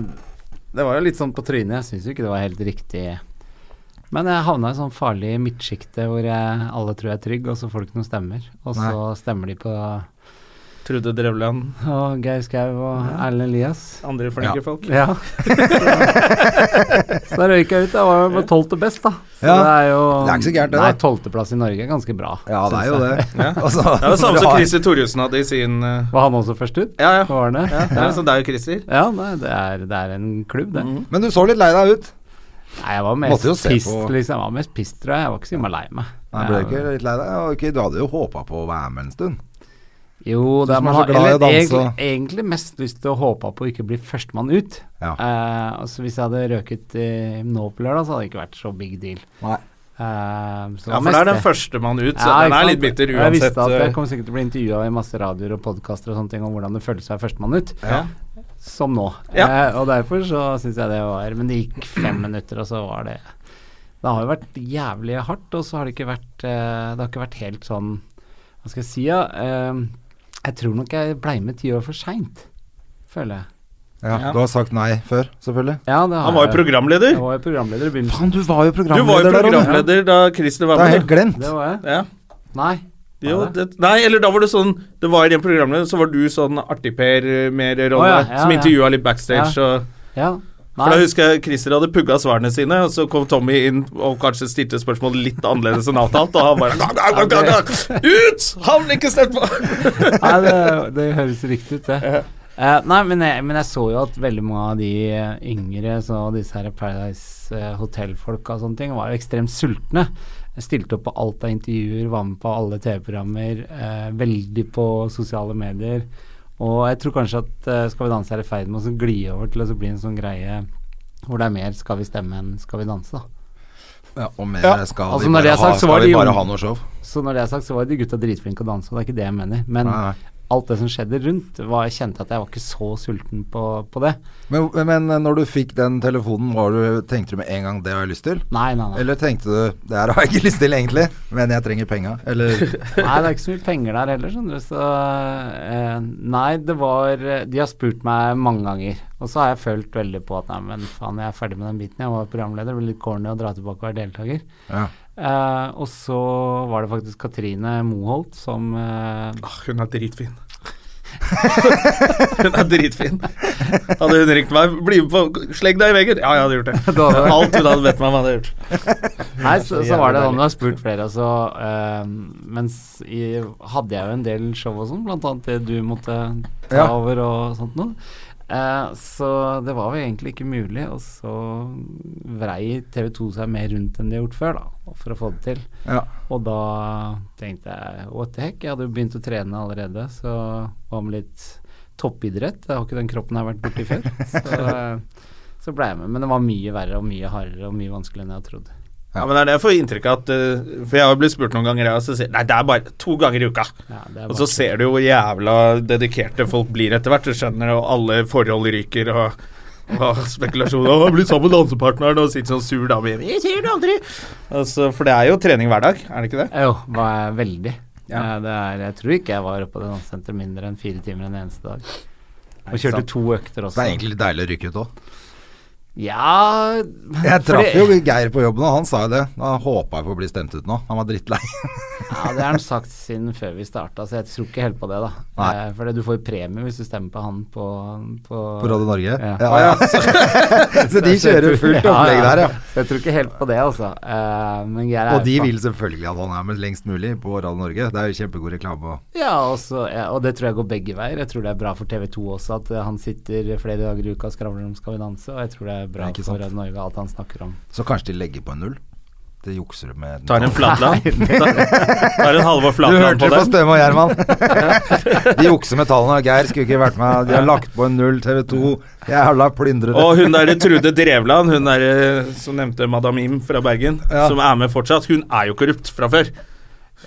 Speaker 4: det var jo litt sånn på trynet. Jeg syns jo ikke det var helt riktig. Men jeg havna i sånn farlig midtsjikte hvor jeg, alle tror jeg er trygg, og så får du ikke noen stemmer. Og så stemmer de på
Speaker 1: Trude Drevland.
Speaker 4: og Geir Skau og Erlend Elias.
Speaker 1: Andre flinke folk.
Speaker 4: Ja. så da røyk jeg ut. Jeg var jo på tolvte best, da. Så
Speaker 2: Ja.
Speaker 4: det er jo
Speaker 2: Det er ikke så gærent, det,
Speaker 4: Nei,
Speaker 2: da.
Speaker 4: tolvteplass i Norge er ganske bra.
Speaker 2: Ja, det
Speaker 4: synes
Speaker 2: er jo
Speaker 4: jeg.
Speaker 2: det. Altså,
Speaker 1: Ja.
Speaker 2: Og så-
Speaker 1: Det er det
Speaker 2: når
Speaker 1: samme
Speaker 2: du
Speaker 1: som
Speaker 2: har-
Speaker 1: Christer Thoresen hadde i sin eh,
Speaker 4: Var han også først ut?
Speaker 1: Ja, ja.
Speaker 4: Hva Var det?
Speaker 1: ja, det er jo sånn det er jo Christer.
Speaker 4: Ja, nei, det er, det er en klubb, det.
Speaker 2: Men du så litt lei deg ut.
Speaker 4: Nei, jeg var
Speaker 2: Mhm. Måtte
Speaker 4: mest
Speaker 2: jo se
Speaker 4: pissed,
Speaker 2: på-
Speaker 4: liksom. Jeg var mest pissed, tror jeg. Jeg var ikke så himla lei meg.
Speaker 2: Nei, ble du
Speaker 4: Jeg-
Speaker 2: ikke litt lei deg? Ja, ok, Du hadde jo håpa på å være med en stund.
Speaker 4: Jo, det er
Speaker 2: som
Speaker 4: man
Speaker 2: er så
Speaker 4: har
Speaker 2: glad i å
Speaker 4: eller,
Speaker 2: danse
Speaker 4: egentlig,
Speaker 2: og-
Speaker 4: egentlig mest lyst til å håpe på å ikke bli førstemann ut.
Speaker 2: Ja.
Speaker 4: Eh, altså hvis jeg hadde røket eh, nå på lørdag, så hadde det ikke vært så big deal.
Speaker 2: Nei.
Speaker 4: Eh, så
Speaker 1: Ja, for det
Speaker 4: var mest
Speaker 1: er den førstemann ut, så den
Speaker 4: ikke
Speaker 1: er
Speaker 4: sant?
Speaker 1: litt bitter
Speaker 4: Jeg
Speaker 1: uansett.
Speaker 4: visste at jeg
Speaker 1: eh,
Speaker 4: kom sikkert til å bli intervjua i masse radioer og podkaster og sånne ting om hvordan det føles å være førstemann ut,
Speaker 1: ja.
Speaker 4: som nå.
Speaker 1: Ja.
Speaker 4: Eh, og derfor så syns jeg det var Men det gikk fem minutter, og så var det Det har jo vært jævlig hardt, og så har det ikke vært eh, Det har ikke vært helt sånn Hva skal jeg si, ja? Eh, jeg tror nok jeg blei med ti år for seint, føler jeg.
Speaker 2: Ja,
Speaker 1: Ja.
Speaker 2: Du har sagt nei før, selvfølgelig.
Speaker 4: Ja, det har
Speaker 1: Han var jo
Speaker 4: jeg.
Speaker 1: programleder.
Speaker 4: Jeg var jo programleder i begynnelsen.
Speaker 2: Faen, du var jo
Speaker 1: Du var jo
Speaker 2: der, da, du.
Speaker 1: programleder da Christer var
Speaker 2: Det har jeg helt
Speaker 1: med.
Speaker 2: glemt.
Speaker 4: Det var jeg.
Speaker 1: Ja.
Speaker 4: Nei.
Speaker 1: Jo,
Speaker 4: Var det?
Speaker 1: det, nei, eller da var det sånn Det var i en programleder, så var du sånn artig-Per eh, mer rolle,
Speaker 4: Å, ja, ja,
Speaker 1: som
Speaker 4: ja.
Speaker 1: intervjua litt backstage og
Speaker 4: Ja. Nei.
Speaker 1: For da husker jeg Christer hadde pugga svarene sine, og så kom Tommy inn og kanskje stilte spørsmål litt annerledes enn avtalt, og han bare "Nei, nei, nei, nei, nei. Ut! Han vil ikke stemt på!
Speaker 4: Nei, det, det høres riktig ut, det. Eh, nei, men jeg, men jeg så jo at veldig mange av de eh, yngre, så disse her Paradise eh, Hotel-folka og sånne ting, var jo ekstremt sultne. Jeg Stilte opp på alt av intervjuer, var med på alle TV-programmer, eh, veldig på sosiale medier. Og jeg tror kanskje at eh, Skal vi danse er i ferd med å så gli over til å så bli en sånn greie hvor det er mer Skal vi stemme enn Skal vi danse, da.
Speaker 2: Ja, og mer
Speaker 4: Ja.
Speaker 2: skal
Speaker 4: Altså,
Speaker 2: vi
Speaker 4: når
Speaker 2: bare,
Speaker 4: det er sagt,
Speaker 2: ha,
Speaker 4: så var
Speaker 2: skal vi
Speaker 4: de jo-
Speaker 2: bare ha noe show.
Speaker 4: Så når det er sagt, så var de gutta dritflinke å danse, og det er ikke det jeg mener. Men
Speaker 2: Nei, nei.
Speaker 4: alt det som skjedde rundt, var, jeg kjente at jeg var ikke så sulten på, på det.
Speaker 2: Men, men når du fikk den telefonen, var du, tenkte du med en gang 'det har jeg lyst til'?
Speaker 4: Nei, nei, nei.
Speaker 2: Eller tenkte du 'det her har jeg ikke lyst til egentlig, men jeg trenger penga'? Eller
Speaker 4: Nei, det er ikke så mye penger der heller, skjønner du. Så eh, Nei, det var De har spurt meg mange ganger. Og så har jeg følt veldig på at nei, men faen, jeg er ferdig med den biten. Jeg var programleder, det blir litt corny å dra tilbake og være deltaker.
Speaker 2: ja.
Speaker 4: Eh, og så var det faktisk Katrine Moholt som eh,
Speaker 1: Ah, hun er dritfin. hun er dritfin. Hadde hun ringt meg 'Bli med på Slegg deg i veggen', ja, jeg hadde gjort det.
Speaker 4: Da hadde-
Speaker 1: Alt hun hadde bedt meg om, hadde jeg gjort.
Speaker 4: Nei, så, så
Speaker 1: jævlig
Speaker 4: var det sånn,
Speaker 1: deilig.
Speaker 4: du har spurt flere, altså. eh, mens i, hadde jeg jo en del show og sånn, blant annet det du måtte ta
Speaker 2: Ja.
Speaker 4: over og sånt noe. Eh, så det var jo egentlig ikke mulig, og så vrei TV 2 seg mer rundt enn de har gjort før, da, for å få det til.
Speaker 2: ja.
Speaker 4: Og da tenkte jeg what the heck, jeg hadde jo begynt å trene allerede, så var med litt toppidrett. Jeg har ikke den kroppen jeg har vært borti før. Så, eh, så ble jeg med. Men det var mye verre og mye hardere og mye vanskeligere enn jeg hadde trodd.
Speaker 1: Ja, men det er det jeg får inntrykk av at eh, For jeg har jo blitt spurt noen ganger, jeg, og så sier jeg, Nei, det er bare to ganger i uka.
Speaker 4: Ja, det er
Speaker 1: og så ser du jo hvor jævla dedikerte folk blir etter hvert. Du skjønner, og alle forhold ryker, og, og spekulasjon Å, bli sammen med dansepartneren, og sitter sånn sur dame hjemme. Jeg sier det aldri. Altså, for det er jo trening hver dag, er det ikke det?
Speaker 4: Eh, Jo, var jeg veldig.
Speaker 1: Ja.
Speaker 4: Eh, Det er, jeg tror ikke jeg var oppe på det dansesenteret mindre enn fire timer en eneste dag. Og
Speaker 2: ikke
Speaker 4: kjørte
Speaker 2: sant.
Speaker 4: to
Speaker 2: Så
Speaker 4: økter
Speaker 2: det
Speaker 4: også.
Speaker 2: er egentlig litt deilig å rykke ut òg.
Speaker 4: Ja
Speaker 2: Jeg
Speaker 4: fordi-
Speaker 2: traff jo Geir på jobben, og han sa jo det. Da håpa jeg på å bli stemt ut nå. Han var drittlei.
Speaker 4: Ja, det har han sagt siden før vi starta, så jeg tror ikke helt på det, da.
Speaker 2: Nei.
Speaker 4: Eh, Fordi du får premie hvis du stemmer på han på På,
Speaker 2: På Radio Norge?
Speaker 4: Ja.
Speaker 2: Ja, ja. Så de
Speaker 4: jeg
Speaker 2: kjører
Speaker 4: tror-
Speaker 2: fullt opplegg der, ja.
Speaker 4: Så jeg tror ikke helt på det, altså. Eh, Men Geir er
Speaker 2: Og de
Speaker 4: fa-
Speaker 2: vil selvfølgelig at han er med lengst mulig på Radio Norge. Det er jo kjempegod reklame. Og
Speaker 4: Ja, og så- ja, og det tror jeg går begge veier. Jeg tror det er bra for TV 2 også at eh, han sitter flere dager i uka og skravler om Skal vi danse, og jeg tror det er bra
Speaker 2: Ikke
Speaker 4: for
Speaker 2: sant.
Speaker 4: Radio Norge alt han snakker om.
Speaker 2: så kanskje de legger på en null. Det jukser du med.
Speaker 1: Tar en flatland. Ta- Tar en Halvor
Speaker 2: Du
Speaker 1: Flatland
Speaker 2: hørte det
Speaker 1: på
Speaker 2: på
Speaker 1: den.
Speaker 2: Støme og Gjerman. De jukser med tallene. og Geir skulle ikke vært med. De har lagt på en null, TV 2. Jævla plyndrere.
Speaker 1: Og hun derre Trude Drevland, hun derre som nevnte Madam Im fra Bergen,
Speaker 2: Ja.
Speaker 1: som er med fortsatt, hun er jo korrupt fra før.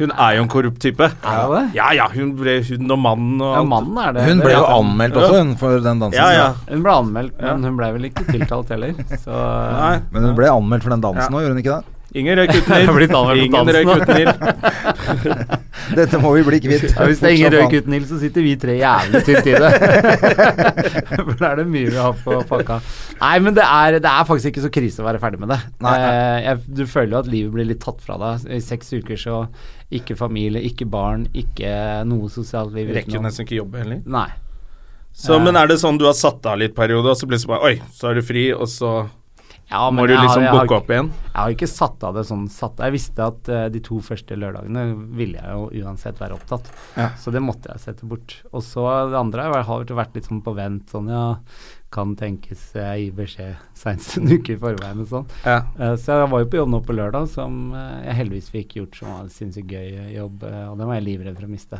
Speaker 1: Hun er jo en korrupt type.
Speaker 4: Er det det?
Speaker 1: Ja ja, hun ble hun og mannen og
Speaker 4: Ja,
Speaker 1: alt.
Speaker 4: mannen er det.
Speaker 2: Hun ble jo anmeldt også, hun, for den dansen.
Speaker 1: Ja ja.
Speaker 4: Hun ble anmeldt, men hun ble vel ikke tiltalt heller. Så
Speaker 1: Nei.
Speaker 2: Men hun ble anmeldt for den dansen òg, gjorde hun ikke det?
Speaker 1: Ingen røyk uten ild.
Speaker 4: Jeg har blitt anmeldt på
Speaker 1: Ingen
Speaker 4: dansen,
Speaker 1: røyk
Speaker 4: da.
Speaker 1: uten ild.
Speaker 2: Dette må vi bli kvitt.
Speaker 4: Ja, hvis det er ingen
Speaker 2: Fort som
Speaker 4: røyk uten ild, så sitter vi tre jævlig tynt i det. For da er det mye vi har på pakka. Nei, men det er, det er faktisk ikke så krise å være ferdig med det.
Speaker 2: Nei, nei.
Speaker 4: Eh, jeg, du føler jo at livet blir litt tatt fra deg. I seks uker så ikke familie, ikke barn, ikke noe sosialt liv.
Speaker 1: Rekker jo
Speaker 4: utenom.
Speaker 1: nesten ikke jobbe heller.
Speaker 4: Nei.
Speaker 1: Så, men er det sånn du har satt av litt periode, og så plutselig bare Oi, så er du fri, og så
Speaker 4: Ja,
Speaker 1: må
Speaker 4: men
Speaker 1: du
Speaker 4: jeg har-
Speaker 1: liksom
Speaker 4: jeg har
Speaker 1: booke
Speaker 4: ikke-
Speaker 1: opp igjen?
Speaker 4: Jeg har ikke satt av det sånn satt Jeg visste at eh, de to første lørdagene ville jeg jo uansett være opptatt, så det måtte jeg sette bort. Og så det andre har vært- har vært litt sånn på vent, sånn ja, kan tenkes jeg gir beskjed seinest en uke i forveien og sånn.
Speaker 1: Ja.
Speaker 4: Eh, Så jeg var jo på jobb nå på lørdag, som eh, jeg heldigvis fikk gjort, som var en sinnssykt gøy eh, jobb, eh, og den var jeg livredd for å miste.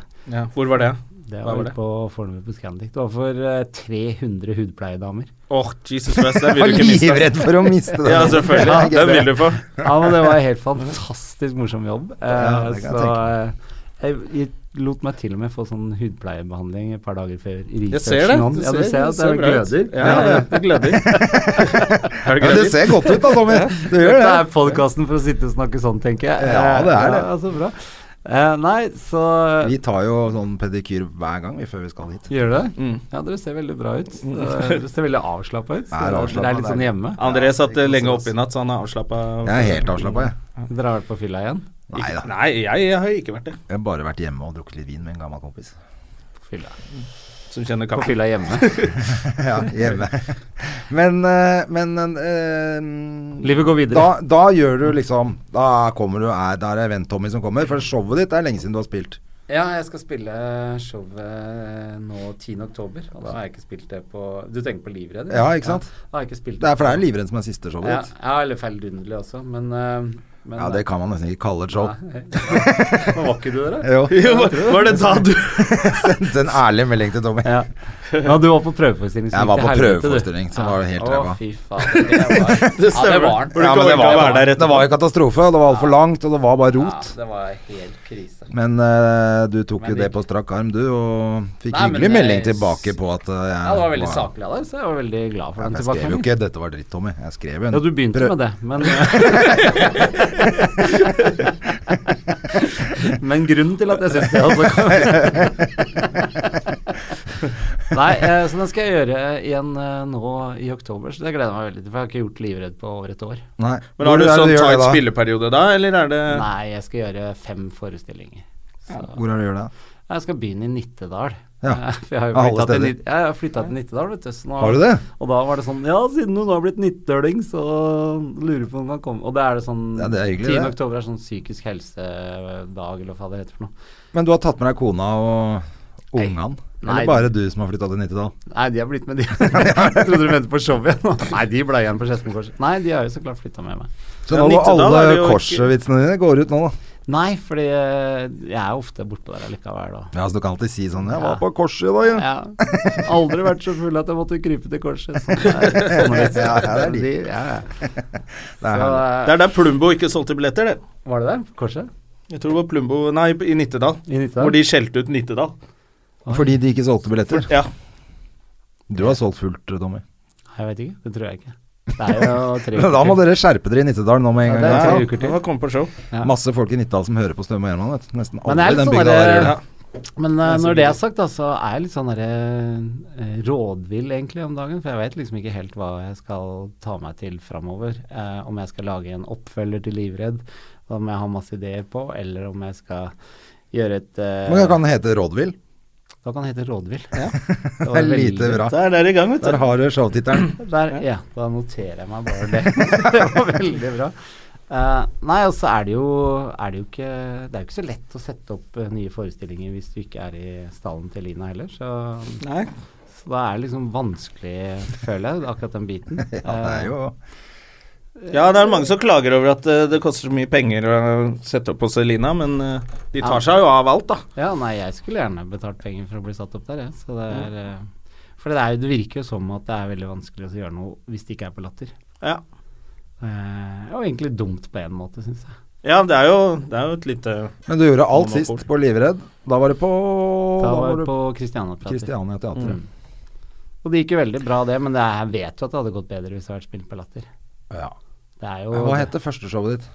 Speaker 1: Hvor var det?
Speaker 4: Det
Speaker 1: var
Speaker 4: var ute
Speaker 1: det?
Speaker 4: på Fornebu på Scandic. Det var for eh, 300 hudpleiedamer.
Speaker 1: Åh, Jesus Christ, den
Speaker 2: faen.
Speaker 1: vil du ikke miste. ass.
Speaker 2: Livredd for å miste den.
Speaker 1: Ja, selvfølgelig.
Speaker 2: Ja,
Speaker 1: Den vil du få.
Speaker 4: Ja, men det var en helt fantastisk morsom jobb. Eh,
Speaker 2: Ja, det kan jeg
Speaker 4: så eh, jeg, jeg lot meg til og med få sånn hudpleiebehandling et par dager før researchen
Speaker 1: Jeg ser det.
Speaker 4: om. Ja, du ser at det
Speaker 1: bra ut.
Speaker 4: gløder.
Speaker 1: Ja, ja, det gløder. Er det
Speaker 2: Ja, det
Speaker 1: gløder?
Speaker 2: ser godt ut da, Tommy. Det gjør
Speaker 4: Dette
Speaker 2: det.
Speaker 4: er podkasten for å sitte og snakke sånn, tenker jeg.
Speaker 2: Ja, det er
Speaker 4: Eh,
Speaker 2: det.
Speaker 4: Ja, så bra. Eh, nei, så
Speaker 2: Vi tar jo sånn pedikyr hver gang vi før vi skal hit.
Speaker 4: Gjør det?
Speaker 1: Mm.
Speaker 4: Ja, dere ser veldig bra ut. Eh, Dere ser veldig avslappa ut. Så
Speaker 2: Er avslappet,
Speaker 4: dere er litt
Speaker 2: det er-
Speaker 4: sånn hjemme.
Speaker 1: André satt eh, lenge
Speaker 2: Ja,
Speaker 1: oppe i natt, så han er avslappa.
Speaker 2: Jeg er helt avslappa, jeg.
Speaker 4: Dere har vært på fylla igjen?
Speaker 2: Nei da.
Speaker 1: Nei, jeg, jeg har ikke vært det.
Speaker 2: Jeg har bare vært hjemme og drukket litt vin med en gammel kompis.
Speaker 4: På fylla,
Speaker 1: Som kjenner
Speaker 4: på
Speaker 1: kaffen.
Speaker 4: fylla hjemme.
Speaker 2: Ja, hjemme. Men, eh, men eh,
Speaker 4: Livet går videre.
Speaker 2: da, da gjør du liksom Da kommer du er, Da er det Venn-Tommy som kommer. For showet ditt er lenge siden du har spilt.
Speaker 4: Ja, jeg skal spille showet nå 10. oktober, og da har jeg ikke spilt det på Du tenker på Livredd?
Speaker 2: Ja, ikke sant?
Speaker 4: da har jeg ikke spilt
Speaker 2: Det er for det er Livredd som er siste showet
Speaker 4: ja,
Speaker 2: ditt.
Speaker 4: ja, eller Feilundelig også, men eh, Men,
Speaker 2: Ja, det kan man nesten ikke kalle et show.
Speaker 4: Var ikke du der?
Speaker 2: Jo,
Speaker 1: Jo, var det da du
Speaker 2: Sendt en ærlig melding til Tommy.
Speaker 4: Ja. ja, du var på prøveforestilling. som
Speaker 2: Jeg var
Speaker 4: gikk til
Speaker 2: på
Speaker 4: helvete, du.
Speaker 2: prøveforestilling, som var helt ræva.
Speaker 4: Å, fy faen. Det var, ja, det var den.
Speaker 1: Hvor du ikke orka å være der
Speaker 2: det var jo katastrofe, og det var altfor langt, og det var bare rot.
Speaker 4: Ja, det var helt krise.
Speaker 2: Men eh, du tok
Speaker 4: Men
Speaker 2: jo
Speaker 4: det-
Speaker 2: det på strak arm, du, og fikk
Speaker 4: Nei, men
Speaker 2: hyggelig
Speaker 4: det-
Speaker 2: melding tilbake på at eh, jeg
Speaker 4: Ja, det var veldig saklig av deg, så jeg var veldig glad for den
Speaker 2: Jeg skrev jo
Speaker 4: tilbakemeldingen.
Speaker 2: ikke 'dette var dritt', Tommy. Jeg skrev jo en
Speaker 4: Ja, du begynte
Speaker 2: prøv-
Speaker 4: med det, men Men grunnen til at jeg syns det altså Nei, eh, så den skal jeg gjøre igjen eh, nå i oktober, så det gleder jeg meg veldig til. For jeg har ikke gjort Livredd på over et år.
Speaker 2: Nei.
Speaker 1: Men har du
Speaker 2: Hvor er det
Speaker 1: sånn
Speaker 2: gjør det
Speaker 1: tight
Speaker 2: da?
Speaker 1: spilleperiode da, eller er det
Speaker 4: Nei, jeg skal gjøre fem forestillinger.
Speaker 2: Hvor
Speaker 4: Så.
Speaker 2: er det du gjør det?
Speaker 4: Jeg skal begynne i Nittedal.
Speaker 2: Ja.
Speaker 4: For jeg har jo
Speaker 2: Av alle
Speaker 4: flytta til,
Speaker 2: steder.
Speaker 4: Nit- jeg har flyttet til Nittedal, vet du. Så nå,
Speaker 2: Har du det?
Speaker 4: Og da var det sånn Ja, siden hun har blitt nittøling, så lurer jeg på om hun kan komme. Og da er det sånn
Speaker 2: Ja, det er hyggelig,
Speaker 4: 10.
Speaker 2: det.
Speaker 4: oktober er sånn psykisk helsedag, eller hva det heter for noe.
Speaker 2: Men du har tatt med deg kona og ungene?
Speaker 4: Nei.
Speaker 2: Eller bare du som har flytta til Nittedal?
Speaker 4: Nei, de har blitt med, de. jeg trodde du mente på showet igjen. Nei, de ble igjen på Skedsmokorset. Nei, de har jo så klart flytta med meg.
Speaker 2: Så
Speaker 1: Ja,
Speaker 2: nå
Speaker 1: Nittedal
Speaker 2: alle
Speaker 1: er det jo ikke-
Speaker 2: korsvitsene dine går ut nå, da.
Speaker 4: Nei, fordi eh, jeg er ofte bortpå der allikevel, og
Speaker 2: Ja, så du kan alltid si sånn 'Jeg
Speaker 4: Ja.
Speaker 2: var på korset i dag, jeg'.
Speaker 4: ja. Aldri vært så full at jeg måtte krype til korset. Sånn er, sånn er, det.
Speaker 2: Ja, ja, det er de.
Speaker 4: De- ja, ja.
Speaker 2: Det er
Speaker 4: Så,
Speaker 2: herlig.
Speaker 4: eh,
Speaker 1: Det er der Plumbo ikke solgte billetter, det.
Speaker 4: Var det der? Korset?
Speaker 1: Jeg tror det var Plumbo Nei, i Nittedal.
Speaker 4: I Nittedal?
Speaker 1: Hvor de skjelte ut Nittedal.
Speaker 2: Fordi de ikke solgte billetter.
Speaker 1: Ja.
Speaker 2: Du har solgt fullt, Tommy.
Speaker 4: Nei, Jeg vet ikke. Det tror jeg ikke. Det er jo tre
Speaker 2: Men da må dere skjerpe dere i Nittedal nå med en
Speaker 4: Ja,
Speaker 2: gang.
Speaker 4: det er
Speaker 2: altså.
Speaker 4: tre uker til.
Speaker 1: Han kom på show.
Speaker 4: Ja.
Speaker 2: Masse folk i Nittedal som hører på Støme og Gjerman, vet du. Nesten
Speaker 4: Men det
Speaker 2: alle
Speaker 4: er
Speaker 2: i den
Speaker 4: litt sånn
Speaker 2: bygda der gjør det.
Speaker 4: der, Men eh, når det er sagt, da, så er jeg litt sånn der, eh, rådvill egentlig om dagen. For jeg vet liksom ikke helt hva jeg skal ta meg til framover. Eh, om jeg skal lage en oppfølger til Livredd, om jeg har masse ideer på, eller om jeg skal gjøre et eh,
Speaker 2: Men det kan hete Rådvill.
Speaker 4: Da kan det hete Rådvill.
Speaker 2: Det er lite bra.
Speaker 1: Der er det i gang, vet
Speaker 2: Der
Speaker 1: du.
Speaker 2: har du showtittelen.
Speaker 4: Der, ja, da noterer jeg meg bare det. det var veldig bra. Eh, nei, og så er det jo, er det jo ikke Det er jo ikke så lett å sette opp eh, nye forestillinger hvis du ikke er i stallen til Lina heller, så,
Speaker 1: Nei.
Speaker 4: så da er det liksom vanskelig, føler jeg, akkurat den biten.
Speaker 2: Ja, det er jo
Speaker 1: Ja, det er mange som klager over at eh, det koster så mye penger å sette opp hos Elina, men eh, de
Speaker 4: Ja.
Speaker 1: tar seg jo av alt, da.
Speaker 4: Eh, ja, nei, jeg skulle gjerne betalt penger for å bli satt opp der, jeg. Så det er eh, For det, er, jo- det virker jo som at det er veldig vanskelig å gjøre noe hvis det ikke er på latter.
Speaker 1: Ja.
Speaker 4: Eh, og egentlig dumt på en måte, syns jeg.
Speaker 1: Ja, det er jo, det er jo et lite
Speaker 2: Men du gjorde alt
Speaker 1: Monopol.
Speaker 2: sist på Livredd. Da var det på
Speaker 4: Da var
Speaker 2: du
Speaker 4: det på Christiania-teater.
Speaker 2: Kristiania Teater.
Speaker 4: Mm. Og det gikk jo veldig bra, det, men det er, jeg vet jo at det hadde gått bedre hvis det hadde vært spilt på Latter.
Speaker 2: Ja.
Speaker 4: Det er jo
Speaker 2: Hva het det første showet ditt?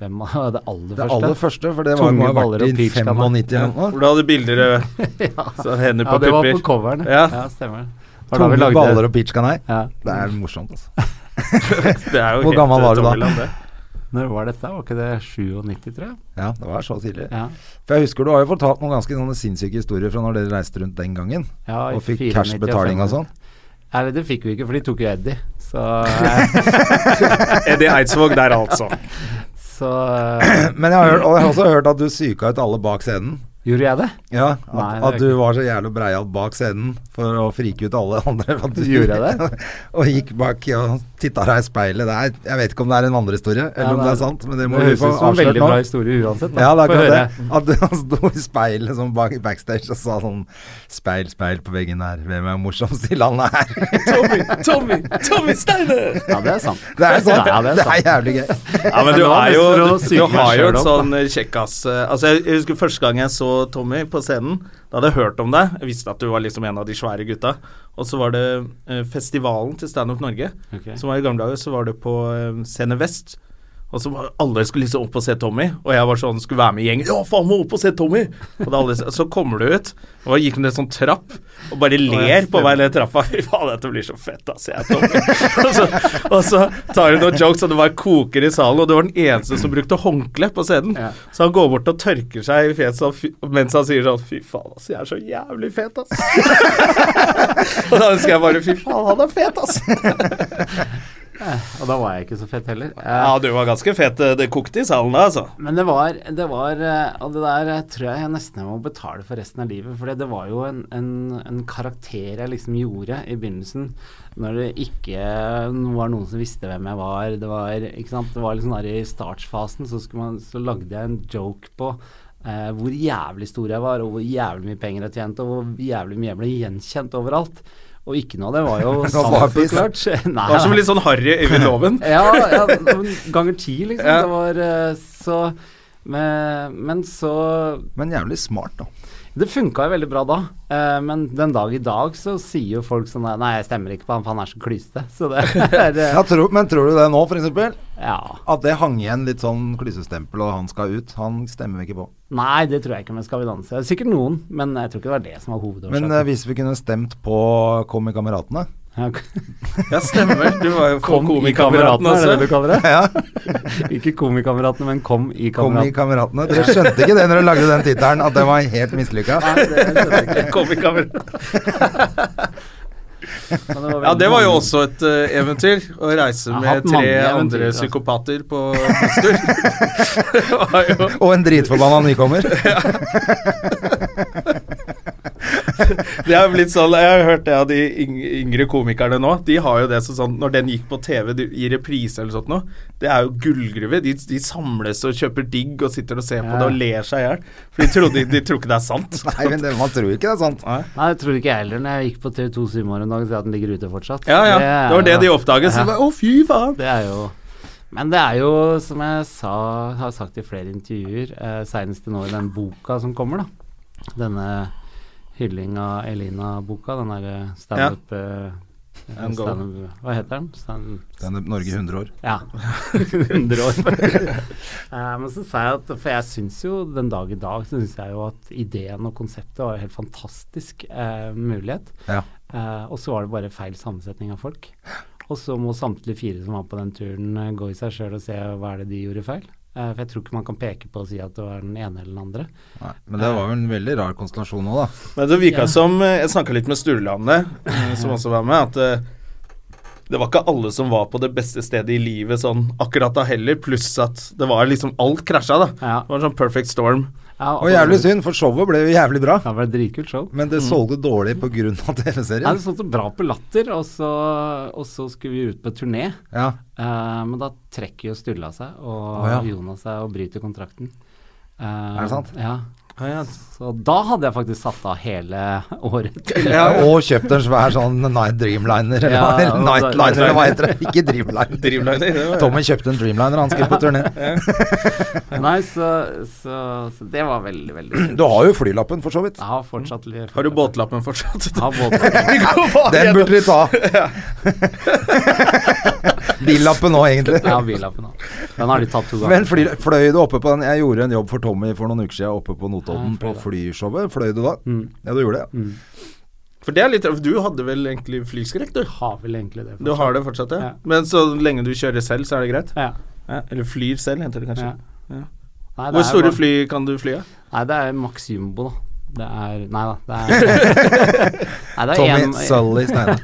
Speaker 4: Hvem av det aller
Speaker 2: Det
Speaker 4: første?
Speaker 2: aller første, for det var
Speaker 4: Tunge
Speaker 2: jo
Speaker 4: baller
Speaker 2: vært
Speaker 4: og
Speaker 2: i
Speaker 4: peach
Speaker 2: 95 eller noe.
Speaker 1: Hvor du hadde bilder eh,
Speaker 4: ja.
Speaker 1: sånn hender
Speaker 4: ja,
Speaker 1: på
Speaker 4: det var på
Speaker 1: pupper.
Speaker 4: coveren.
Speaker 1: Ja.
Speaker 4: stemmer. Det eh, var da vi
Speaker 2: Tunge
Speaker 4: lagde
Speaker 2: baller og peach canai.
Speaker 4: ja.
Speaker 2: Det er morsomt, altså.
Speaker 1: Det er jo
Speaker 2: Hvor
Speaker 1: helt,
Speaker 2: gammel
Speaker 1: eh,
Speaker 2: var du da?
Speaker 1: tommeland, det.
Speaker 4: Når var dette? Var ikke det 97, tror jeg?
Speaker 2: Ja, det var så tidlig.
Speaker 4: Ja,
Speaker 2: For jeg husker du har jo fortalt noen ganske sånne sinnssyke historier fra når dere reiste rundt den gangen.
Speaker 4: ja i
Speaker 2: Og fikk
Speaker 4: 94
Speaker 2: cashbetaling og
Speaker 4: fem-
Speaker 2: sånn.
Speaker 4: Nei, det fikk vi ikke, for de tok jo Eddie. Så,
Speaker 1: Eddie Eidsvåg der, altså.
Speaker 4: så eh,
Speaker 2: Men jeg har, hørt, og jeg har også hørt at du psyka ut alle bak scenen.
Speaker 4: Gjorde jeg det?
Speaker 2: Ja, at,
Speaker 4: Nei, det er
Speaker 2: at du var så jævlig breial bak scenen for å frike ut alle andre. at du-
Speaker 4: Gjorde jeg det?
Speaker 2: og gikk bak og titta deg i speilet. Det er, jeg vet ikke om det er en vandrehistorie, eller
Speaker 4: Ja,
Speaker 2: om
Speaker 4: det
Speaker 2: det
Speaker 4: er-
Speaker 2: er sant, men det må
Speaker 4: Det
Speaker 2: vi
Speaker 4: høres
Speaker 2: få
Speaker 4: ut som en
Speaker 2: avslørt
Speaker 4: veldig bra
Speaker 2: nå.
Speaker 4: historie uansett. da.
Speaker 2: Ja, det er
Speaker 4: Få
Speaker 2: akkurat
Speaker 4: høre.
Speaker 2: det. At du han sto i speilet sånn bak, backstage og sa sånn Speil, speil på veggen her, hvem er morsomst i landet her?
Speaker 1: Tommy, Tommy, Tommy Steiner!
Speaker 4: Ja, det er sant.
Speaker 2: Det er sant,
Speaker 4: Ja,
Speaker 2: det,
Speaker 4: det er sant.
Speaker 2: er jævlig gøy.
Speaker 1: Ja, men
Speaker 4: Men
Speaker 1: du
Speaker 4: det var
Speaker 1: er
Speaker 4: mest
Speaker 1: jo
Speaker 4: for å
Speaker 1: Du
Speaker 4: psyke meg
Speaker 1: har jo
Speaker 4: selv
Speaker 1: et
Speaker 4: opp, da.
Speaker 1: sånn kjekkas eh, Altså, jeg jeg husker første gang jeg så Tommy på scenen. Da hadde jeg hørt om deg. Jeg visste at du var liksom en av de svære gutta. Og så var det eh, festivalen til Standup Norge.
Speaker 4: Ok.
Speaker 1: Som var i gamle dager, så var det på eh, Scene Vest. Og så var alle skulle liksom opp og se Tommy, og jeg var sånn, skulle være med i gjengen. Ja, faen, må opp og se Tommy! Og da alle, så kommer du ut, og da gikk du ned sånn trapp, og bare ler på vei ned trappa. Fy faen, dette blir så fett, ass. Jeg er Tommy. og, så, og så tar du noen jokes, og det bare koker i salen, og du var den eneste som brukte håndkle på scenen.
Speaker 4: Ja.
Speaker 1: Så han går bort og tørker seg i fjeset og fy- mens han sier sånn Fy faen, ass, jeg er så jævlig fet, ass. og da husker jeg bare Fy faen, han er fet, ass.
Speaker 4: Ja, Og da var jeg ikke så fett heller. Eh,
Speaker 1: Ja, du var ganske fet. eh, Det kokte i salen da, altså.
Speaker 4: Men det var, det var eh, Og det der eh, tror jeg jeg nesten jeg må betale for resten av livet. For det var jo en, en, en karakter jeg liksom gjorde i begynnelsen. Når det ikke eh, var noen som visste hvem jeg var. Det var, ikke sant? Det var liksom der i startfasen så, skulle man, så lagde jeg en joke på eh, hvor jævlig stor jeg var, og hvor jævlig mye penger jeg tjente, og hvor jævlig mye jeg ble gjenkjent overalt. Og ikke noe av det var jo sant
Speaker 2: Varpis.
Speaker 4: forklart. Nei,
Speaker 1: Det var som litt sånn Harry Øyvind Loven.
Speaker 4: ja, ja, men ganger ti, liksom.
Speaker 1: Ja.
Speaker 4: Det var eh, så men, men så
Speaker 2: Men jævlig smart, da.
Speaker 4: Det funka jo veldig bra da, eh, men den dag i dag så sier jo folk sånn der, Nei, jeg stemmer ikke på han, for han er så klysete. Så det er eh,
Speaker 2: Ja, tro, men tror du det nå, f.eks.?
Speaker 4: Ja.
Speaker 2: At det hang igjen litt sånn klysestempel, og han skal ut. Han stemmer vi ikke på.
Speaker 4: Nei, det tror jeg ikke med Skal vi danse. Det er Sikkert noen, men jeg tror ikke det var det som var
Speaker 2: Men
Speaker 4: hovedårsaken.
Speaker 2: eh, hvis vi kunne stemt på Kom i kameratene
Speaker 4: Ja,
Speaker 1: Ja, stemmer. Du var jo på
Speaker 4: Kom i kameratene, er det det du
Speaker 1: også.
Speaker 4: kaller det?
Speaker 2: Ja,
Speaker 4: Ikke Komikameratene, men Kom i
Speaker 2: Kom i
Speaker 4: kameratene.
Speaker 2: kameratene. Dere skjønte ikke det når dere lagde den tittelen, at den var helt mislykka?
Speaker 1: Kom i kameratene.
Speaker 4: Men det var
Speaker 1: Ja,
Speaker 4: veldig
Speaker 1: det var jo
Speaker 4: mange-
Speaker 1: også et eh, eventyr. Å reise
Speaker 4: har
Speaker 1: med
Speaker 4: hatt mange
Speaker 1: tre
Speaker 4: eventyr,
Speaker 1: andre
Speaker 4: altså.
Speaker 1: psykopater på busstur. Det var jo
Speaker 2: Og en dritforbanna nykommer.
Speaker 1: Det er jo litt sånn, Jeg har hørt det av de yng- yngre komikerne nå. De har jo det som sånn Når den gikk på TV de- i reprise eller sånt nå, det er jo gullgruve. De, de samles og kjøper digg og sitter og ser på
Speaker 4: Ja.
Speaker 1: det og ler seg i hjel. For de trodde de tror ikke det er sant.
Speaker 2: Nei, men det, man tror ikke det er sant.
Speaker 4: Nei, det tror ikke jeg heller. Når jeg gikk på TV2 Symor en dag, så jeg at den ligger ute fortsatt.
Speaker 1: Ja, ja.
Speaker 4: er
Speaker 1: Det var det
Speaker 4: jo-
Speaker 1: de oppdaget. Så
Speaker 4: Ja.
Speaker 1: de bare, Å, fy faen.
Speaker 4: Det er jo Men det er jo, som jeg sa, har sagt i flere intervjuer, eh, seinest nå i den boka som kommer, da. Denne hylling av Elina-boka, den derre standup eh,
Speaker 1: And go.
Speaker 4: standup- Hva heter den? Stand
Speaker 2: Standup Norge 100 år.
Speaker 4: ja. 100 år. Eh, Men så sa jeg at For jeg syns jo den dag i dag så synes jeg jo at ideen og konseptet var en helt fantastisk eh, mulighet.
Speaker 2: Ja.
Speaker 4: Eh, og så var det bare feil sammensetning av folk. Og så må samtlige fire som var på den turen eh, gå i seg sjøl og se hva er det de gjorde feil. Eh, for jeg tror ikke man kan peke på og si at det var den ene eller den andre.
Speaker 2: Nei, men det var jo en veldig rar konstellasjon nå, da.
Speaker 1: Men det virka som eh, Jeg snakka litt med Sturle om det, eh, som også var med, at eh, det var ikke alle som var på det beste stedet i livet sånn akkurat da heller, pluss at det var liksom Alt krasja, da.
Speaker 4: Ja.
Speaker 1: Det var en sånn perfect storm.
Speaker 4: Ja, altså,
Speaker 2: Og jævlig synd, for showet ble jo jævlig bra.
Speaker 4: Det var et dritkult show.
Speaker 2: Men det solgte dårlig pga.
Speaker 4: Nei, det
Speaker 2: TV-serien.
Speaker 4: stod så bra på latter, og så, og så skulle vi ut på turné.
Speaker 2: Ja.
Speaker 4: Eh, men da trekker jo Sturla seg og
Speaker 2: ja.
Speaker 4: Jonas seg og bryter kontrakten. Eh,
Speaker 2: Er det sant?
Speaker 4: Ja.
Speaker 1: Ja, ja.
Speaker 4: Så da hadde jeg faktisk satt av hele året.
Speaker 2: ja. Og kjøpte en svær sånn Night Dreamliner, eller,
Speaker 4: Ja,
Speaker 2: hva- eller
Speaker 4: og-
Speaker 2: Nightliner, eller hva heter det? Ikke Dreamliner.
Speaker 1: Dreamliner, det var-
Speaker 2: Tommy kjøpte en Dreamliner, han skulle på turné.
Speaker 4: Nei, så, så, så det var veldig, veldig
Speaker 2: Du har jo flylappen, for så vidt.
Speaker 4: Jeg har fortsatt litt
Speaker 1: Har du båtlappen fortsatt?
Speaker 4: Jeg har båtlappen. Ah,
Speaker 2: Den burde vi ta. Billappen nå, egentlig.
Speaker 4: Jeg har billappen òg. Den har de tatt to
Speaker 2: Men
Speaker 4: ganger.
Speaker 2: fly, fløy du oppe på den Jeg gjorde en jobb for Tommy for noen uker siden oppe på Notodden,
Speaker 4: Ja,
Speaker 2: på
Speaker 4: fløy da. Mm.
Speaker 2: flyshowet. Fløy du da? Ja, du gjorde det.
Speaker 1: For det er litt Du hadde vel egentlig flyskrekk, du?
Speaker 4: Har vel egentlig det.
Speaker 1: Du har det fortsatt, ja?
Speaker 4: Ja.
Speaker 1: Men så lenge du kjører selv, så er det greit?
Speaker 4: Ja.
Speaker 1: Ja. Eller flyr selv, heter det kanskje.
Speaker 4: ja.
Speaker 1: Ja.
Speaker 4: Nei, det
Speaker 1: Hvor
Speaker 4: er
Speaker 1: store
Speaker 4: bare-
Speaker 1: fly kan du fly av?
Speaker 4: Nei, det er Max Jumbo, da. Det er Nei da, det er Nei, det er
Speaker 2: Tommy
Speaker 4: en-
Speaker 2: Sully Steinar.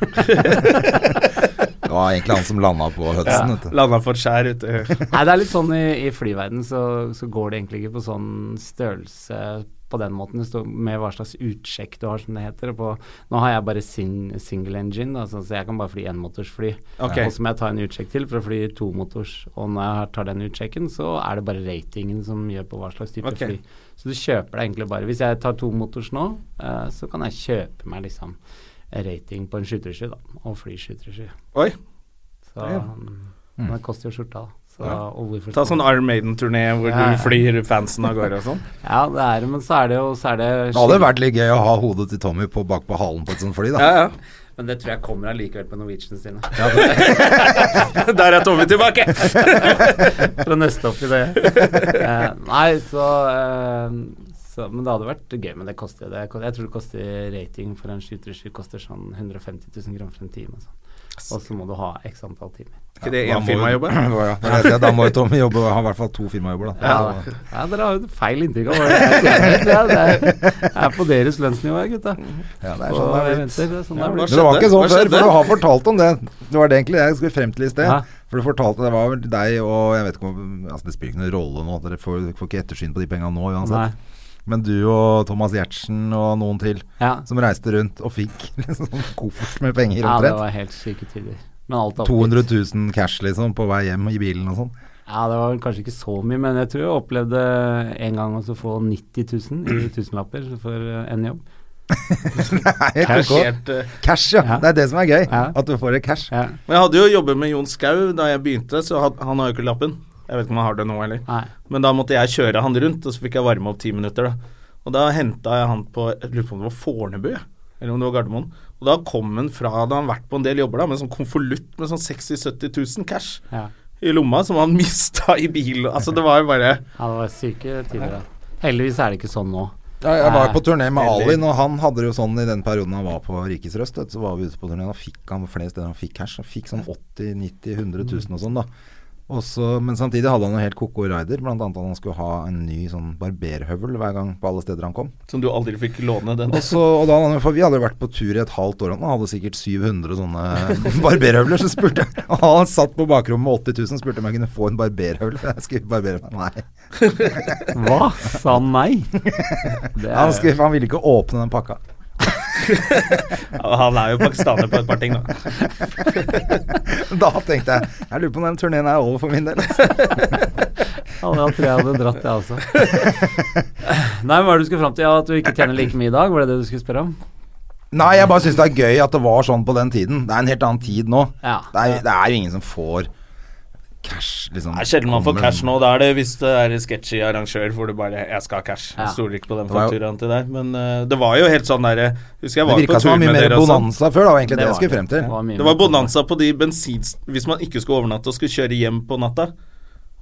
Speaker 2: det var egentlig han som landa på Hudson, vet du.
Speaker 1: Landa for skjær ute.
Speaker 4: Nei, det er litt sånn i, i flyverden så, så går det egentlig ikke på sånn størrelse på den måten. Det står med hva slags utsjekk du har, som det heter. Og på, nå har jeg bare sin, single engine, da, så, så jeg kan bare fly enmotorsfly.
Speaker 1: Ok.
Speaker 4: Og så må jeg ta en utsjekk til for å fly tomotors. Og når jeg har- tar den utsjekken, så er det bare ratingen som gjør på hva slags type
Speaker 1: Ok.
Speaker 4: fly. Så du kjøper deg egentlig bare Hvis jeg tar tomotors nå, eh, så kan jeg kjøpe meg liksom rating på en 737, da. Og fly 737.
Speaker 1: Oi.
Speaker 4: Så mm, Men det koster jo skjorta, da. Så, og hvorfor
Speaker 1: Mm. Ta
Speaker 4: skal
Speaker 1: sånn
Speaker 4: man-
Speaker 1: Iron Maiden-turné hvor
Speaker 4: Ja, ja.
Speaker 1: du flyr fansen av gårde og sånn.
Speaker 4: Ja, det er det, men så er det jo så er det
Speaker 2: Det hadde vært litt gøy å ha hodet til Tommy på bak på halen på et sånt fly, da.
Speaker 1: Ja, ja.
Speaker 4: Men det tror jeg kommer allikevel på Norwegian sine.
Speaker 1: Der er Tommy tilbake!
Speaker 4: For å nøste opp i det. Eh, nei, så, eh, så Men det hadde vært gøy, men det koster det. koster- Jeg tror det koster rating for en 737 koster sånn 150 000 kroner for en time. Og sånn. Og så må du ha x antall timer.
Speaker 1: Ikke det
Speaker 2: Da
Speaker 1: én
Speaker 2: må
Speaker 1: firma
Speaker 2: jo-
Speaker 1: jobber?
Speaker 2: Ja, det er det. Da må jo Tommy jobbe, ha i hvert fall to firmajobber, da.
Speaker 4: Ja, ja, dere har jo feil inntrykk av hva jeg tjener. Ja, det er, jeg er på deres lønnsnivå, jeg, gutta.
Speaker 2: Ja, det er sånn
Speaker 4: Og
Speaker 2: det er
Speaker 4: jeg
Speaker 2: blitt.
Speaker 4: venter, det er sånn det
Speaker 1: Ja,
Speaker 4: er blitt.
Speaker 2: Men det var
Speaker 1: Hva
Speaker 2: ikke sånn
Speaker 1: skjedde?
Speaker 2: før, for du har fortalt om det. Det var det egentlig jeg skulle frem til i sted.
Speaker 4: Ja.
Speaker 2: For du fortalte, det var vel deg og jeg vet ikke om, altså Det spiller ikke noen rolle nå, dere får, får ikke ettersyn på de pengene nå
Speaker 4: Nei.
Speaker 2: uansett. Men du og Thomas Giertsen og noen til
Speaker 4: Ja.
Speaker 2: som reiste rundt og fikk liksom sånn koffert med penger
Speaker 4: ja, det
Speaker 2: omtrent.
Speaker 4: var helt syke tider. Men alt er oppgitt.
Speaker 2: 200 000 cash liksom på vei hjem i bilen og sånn.
Speaker 4: Ja, det var vel kanskje ikke så mye, men jeg tror jeg opplevde en gang også å få 90 000 i tusenlapper for eh, en jobb.
Speaker 2: Nei,
Speaker 1: Cash.
Speaker 2: ok.
Speaker 1: Helt, eh,
Speaker 2: Cash, ja.
Speaker 4: Ja.
Speaker 2: Det er det som er gøy.
Speaker 4: Ja.
Speaker 2: At du får et cash.
Speaker 4: Ja.
Speaker 1: Men jeg hadde jo jobbet med Jon Skau da jeg begynte, så han, han har jo ikke lappen. Jeg vet ikke om han har det nå heller.
Speaker 4: Nei.
Speaker 1: Men da måtte jeg kjøre han rundt, og så fikk jeg varme opp ti minutter. Da. Og da henta jeg han på Jeg lurer på om det var Fornebu, jeg, eller om det var Gardermoen. Og da kom han fra Da hadde han vært på en del jobber, da, med sånn konvolutt med sånn 60 000-70 000 cash
Speaker 4: Ja.
Speaker 1: i lomma, som han mista i bilen. Altså, det var jo bare
Speaker 4: ja, det var syke tider. da. Heldigvis er det ikke sånn nå.
Speaker 2: Ja, Jeg var på turné med
Speaker 4: Veldig.
Speaker 2: Alin, og han hadde det jo sånn i den perioden han var på Rikets Røst. vet du, Så var vi ute på turné, og da fikk han flere steder han fikk cash. Han fikk sånn 80 90 100 000 og sånn, da. Og så- men samtidig hadde han jo helt koko rider, blant annet at han skulle ha en ny sånn barberhøvel hver gang på alle steder han kom.
Speaker 1: Som du aldri fikk låne den.
Speaker 2: Og så, og da, hadde han- for vi hadde jo vært på tur i et halvt år, og han hadde sikkert 700 sånne barberhøvler. Så spurte jeg, og han satt på bakrommet med 80 000, spurte om jeg kunne få en barberhøvel. For jeg skulle barbere meg. Nei.
Speaker 4: Hva? Sa han nei? Det
Speaker 2: Han,
Speaker 4: er,
Speaker 2: skulle, han ville ikke åpne den pakka.
Speaker 1: Ja, Han er jo pakistaner på et par ting, da.
Speaker 2: Da tenkte jeg jeg lurer på om den turneen er over for min del.
Speaker 4: ja, da tror jeg hadde dratt, jeg også. Nei, hva er det du skulle fram til? Ja, At du ikke tjener like mye i dag, var det det du skulle spørre om?
Speaker 2: Nei, jeg bare syns det er gøy at det var sånn på den tiden. Det er en helt annen tid nå.
Speaker 4: Ja.
Speaker 2: Det, er, det er jo ingen som får cash, liksom.
Speaker 1: Det er sjelden man får
Speaker 2: Kommer-
Speaker 1: cash nå. Da er det hvis det er en sketchy arrangør hvor du bare 'Jeg skal ha cash'. Jeg
Speaker 4: Ja.
Speaker 1: stoler ikke på den
Speaker 2: Det var jo-
Speaker 1: fakturaen til deg. Men eh, det var jo helt sånn derre Husker jeg
Speaker 2: Det
Speaker 1: var på
Speaker 2: virka som det
Speaker 1: tur
Speaker 2: var mye
Speaker 1: med
Speaker 2: mer
Speaker 1: dere og sånn.
Speaker 2: bonanza før, da, var egentlig det, jeg
Speaker 4: var
Speaker 2: skulle frem til.
Speaker 4: Det var, mye
Speaker 1: Det var
Speaker 4: mer.
Speaker 1: bonanza på de bensins... Hvis man ikke skulle overnatte og skulle kjøre hjem på natta,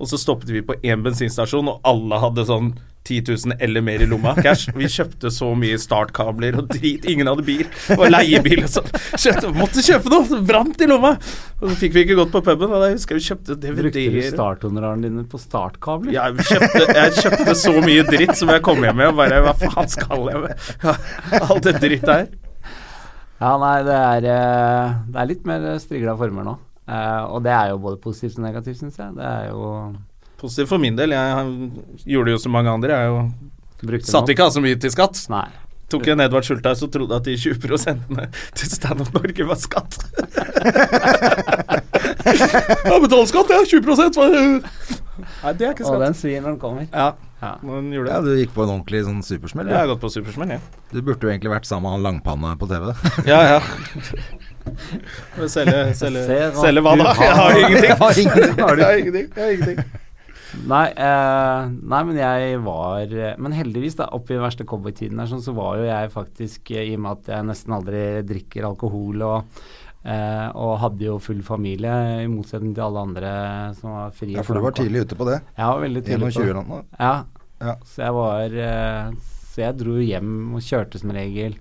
Speaker 1: og så stoppet vi på én bensinstasjon, og alle hadde sånn 10 000 eller mer i lomma cash. Vi kjøpte så mye startkabler og drit. Ingen hadde bil. Det var leiebil og sånn. Kjøpte- Måtte kjøpe noe! så Brant i lomma! Og så fikk vi ikke gått på puben, og da husker jeg vi kjøpte
Speaker 4: Brukte du
Speaker 1: DVD-er.
Speaker 4: starthonorarene dine på startkabler?
Speaker 1: Jeg kjøpte, jeg kjøpte så mye dritt som jeg kom hjem med, og bare Hva faen skal jeg med ja, all det dritt der?
Speaker 4: Ja, nei, det er, eh, det er litt mer strigla former nå. Eh, og det er jo både positivt og negativt, syns jeg. Det er jo
Speaker 1: Positivt for min del. Jeg gjorde jo som mange andre. Jeg jo
Speaker 4: brukte
Speaker 1: satt ikke av så mye til skatt.
Speaker 4: Nei.
Speaker 1: Tok en Edvard Schultheis og trodde at de 20 til Stand Up Norge var skatt. Jeg betaler skatt, jeg. 20 var Nei, det er ikke
Speaker 4: Og
Speaker 1: skatt.
Speaker 4: den svir når den kommer.
Speaker 1: Ja,
Speaker 4: Ja.
Speaker 1: men
Speaker 2: Ja,
Speaker 1: gjorde det.
Speaker 2: du gikk på en ordentlig sånn supersmell.
Speaker 1: Jeg
Speaker 2: Ja.
Speaker 1: har gått på Supersmell, jeg.
Speaker 2: Du burde jo egentlig vært sammen med han langpanne på TV.
Speaker 1: Ja, ja. Men Selge, selge,
Speaker 4: Se hva
Speaker 1: selge hva
Speaker 4: du
Speaker 1: da?
Speaker 4: har.
Speaker 1: Jeg har ingenting.
Speaker 2: Har ingen- har
Speaker 1: Jeg
Speaker 2: du-
Speaker 1: har ingenting. Jeg har ingenting.
Speaker 4: Nei, eh, nei, men jeg var Men heldigvis, da, oppi den verste cowboytiden her, sånn, så var jo jeg faktisk, eh, i og med at jeg nesten aldri drikker alkohol og eh, og hadde jo full familie, i motsetning til alle andre som var fri.
Speaker 2: Ja, for du var tidlig ute på det.
Speaker 4: Jeg var veldig tidlig på det.
Speaker 2: 21 nå.
Speaker 4: Ja.
Speaker 2: Ja.
Speaker 4: Så jeg var eh, Så jeg dro hjem og kjørte som regel.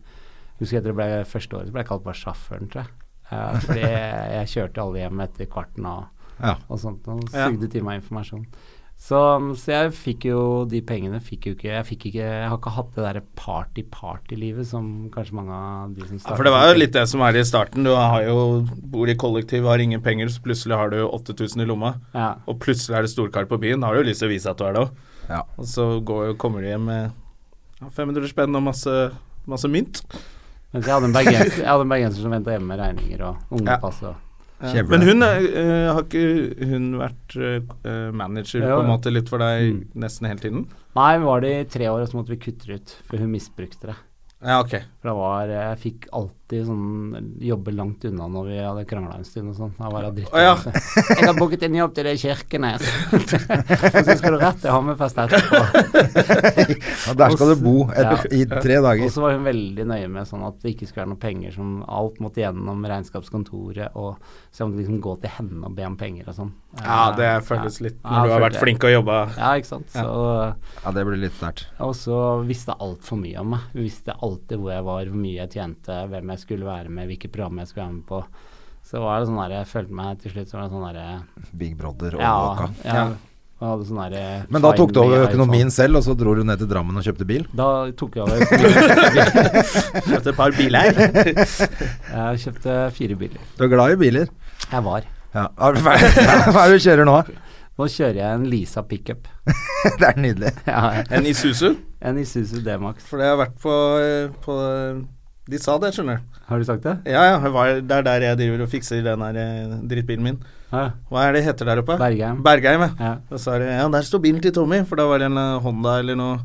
Speaker 4: Husker jeg det ble første året så ble jeg kalt bare sjåføren, tror jeg. Eh, fordi jeg kjørte alle hjem etter kvarten og,
Speaker 2: Ja.
Speaker 4: og sånt og
Speaker 1: Ja.
Speaker 4: sugde til meg informasjon. Så, så jeg fikk jo de pengene fikk jo ikke, jeg, fikk ikke, jeg har ikke hatt det derre party-party-livet som kanskje mange av de som
Speaker 1: Ja, for det var jo litt det som er i starten. Du har jo, bor i kollektiv, har ingen penger, så plutselig har du 8000 i lomma.
Speaker 4: ja.
Speaker 1: Og plutselig er det storkar på byen. Da har du jo lyst til å vise at du er det òg.
Speaker 2: Ja.
Speaker 1: Og så går, kommer du hjem med ja, 500 spenn og masse, masse mynt.
Speaker 4: Mens jeg hadde en bergenser, jeg hadde en bergenser som venta hjemme med regninger og ungepass og
Speaker 2: Kjevle.
Speaker 1: Men hun er, eh, har ikke hun vært eh, manager
Speaker 4: Ja,
Speaker 1: på en
Speaker 4: ja.
Speaker 1: måte litt for deg nesten hele tiden?
Speaker 4: Nei, vi var det i tre år, og så måtte vi kutte det ut, for hun misbrukte det.
Speaker 1: Ja, ok.
Speaker 4: For det var, eh, jeg fikk alltid sånn jobbe langt unna når vi hadde krangla en stund og sånn. Jeg var av dritt.
Speaker 1: Å, ja.
Speaker 4: Jeg har booket en jobb til deg i Kirkenes. og så skal du rett til Hammerfest etterpå.
Speaker 2: Ja, der skal du bo et,
Speaker 4: Ja.
Speaker 2: i tre
Speaker 4: Og
Speaker 2: dager.
Speaker 4: så var hun veldig nøye med sånn at det ikke skulle være noe penger som alt måtte gjennom regnskapskontoret, og så jeg måtte liksom gå til henne og be om penger og sånn.
Speaker 1: Ja, det
Speaker 4: Eh,
Speaker 1: føles litt
Speaker 4: Ja,
Speaker 1: når du har
Speaker 4: følte
Speaker 1: vært
Speaker 4: jeg.
Speaker 1: flink og jobba.
Speaker 4: Ja, ikke sant. Så
Speaker 2: Ja, det blir litt sterkt.
Speaker 4: Og så visste jeg altfor mye om meg. Hun visste alltid hvor jeg var, hvor mye jeg tjente, hvem jeg skulle være med, hvilke program jeg skulle være med på. Så var det sånn der, jeg følte meg til slutt som en sånn derre
Speaker 2: Big Brother og
Speaker 4: ja,
Speaker 2: Åka.
Speaker 4: ja. Jeg hadde sånn derre
Speaker 2: Men da tok du over
Speaker 4: finally
Speaker 2: økonomien
Speaker 4: iPhone.
Speaker 2: selv, og så dro du ned til Drammen og kjøpte bil?
Speaker 4: Da tok jeg over økonomien.
Speaker 1: Kjøpte et par biler.
Speaker 4: Jeg kjøpte fire biler.
Speaker 2: Du er glad i biler?
Speaker 4: Jeg var.
Speaker 2: Ja. Hva er det- hva er det du kjører nå?
Speaker 4: Nå kjører jeg en Lisa pickup.
Speaker 2: Det er nydelig.
Speaker 4: Ja,
Speaker 1: En Isuzu.
Speaker 4: en Isuzu D-Max.
Speaker 1: For det har vært på, på De sa det, skjønner du.
Speaker 4: Har du sagt det?
Speaker 1: Ja, ja. jeg var- Det er der jeg driver og fikser den her eh, drittbilen min.
Speaker 4: Ja.
Speaker 1: Hva er det heter der oppe?
Speaker 4: Bergheim.
Speaker 1: Bergheim, ja.
Speaker 4: Ja.
Speaker 1: Da sa de ja, der står bilen til Tommy, for da var det en eh, Honda eller noe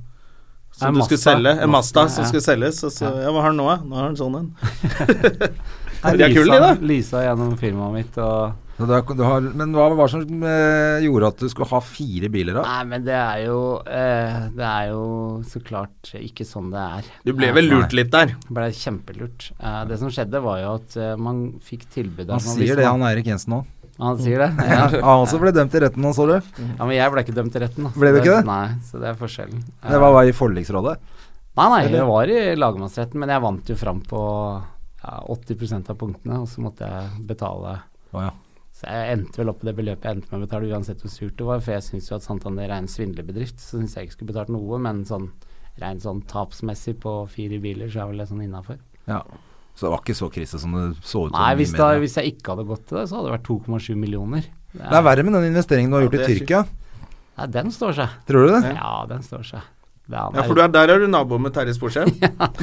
Speaker 1: som
Speaker 4: En
Speaker 1: du skulle
Speaker 4: Mazda.
Speaker 1: selge. En
Speaker 4: Mazda,
Speaker 1: Mazda som
Speaker 4: ja.
Speaker 1: skulle selges. Og så
Speaker 4: Ja.
Speaker 1: ja, hva har han nå, da? Nå har han sånn en.
Speaker 4: Nei,
Speaker 1: De er kule, de,
Speaker 4: Lisa-
Speaker 1: da.
Speaker 4: Lisa gjennom firmaet mitt og
Speaker 2: Så du har, du har, men hva var det som eh, gjorde at du skulle ha fire biler da?
Speaker 4: Nei, men det er jo eh, Det er jo så klart ikke sånn det er.
Speaker 1: Du ble vel lurt litt der.
Speaker 4: Det ble kjempelurt. Eh, det som skjedde, var jo at eh, man fikk tilbud av
Speaker 2: Han sier det, han Eirik Jensen òg.
Speaker 4: Han sier det? Ja.
Speaker 2: Han også ble dømt i retten nå, så du.
Speaker 4: ja, men jeg ble ikke dømt i retten. Da.
Speaker 2: Ble du ikke det?
Speaker 4: Nei, så det er forskjellen. Eh,
Speaker 2: Det var bare i forliksrådet.
Speaker 4: Nei, nei, det var i lagmannsretten, men jeg vant jo fram på ja, 80 av punktene, og så måtte jeg betale
Speaker 2: Å ja.
Speaker 4: Så jeg endte vel opp på det beløpet jeg endte med å betale, uansett hvor surt det var. For jeg syns jo at Santander er en svindlebedrift, så syns jeg ikke skulle betalt noe. Men sånn rent sånn tapsmessig på fire biler, så er vel det sånn innafor.
Speaker 2: ja. Så det var ikke så krise som det så ut som
Speaker 4: Nei,
Speaker 2: i
Speaker 4: hvis, da,
Speaker 2: media.
Speaker 4: hvis jeg ikke hadde gått til det, så hadde det vært 2,7 millioner. Det
Speaker 2: Det er
Speaker 4: er,
Speaker 2: verre med den investeringen du har gjort
Speaker 1: Ja,
Speaker 2: i
Speaker 1: det er
Speaker 2: Tyrkia.
Speaker 4: nei, den står seg.
Speaker 2: Tror du det?
Speaker 4: Ja, den står seg. Det er,
Speaker 1: Ja, for du er, der er du nabo med Terje Sporsheim.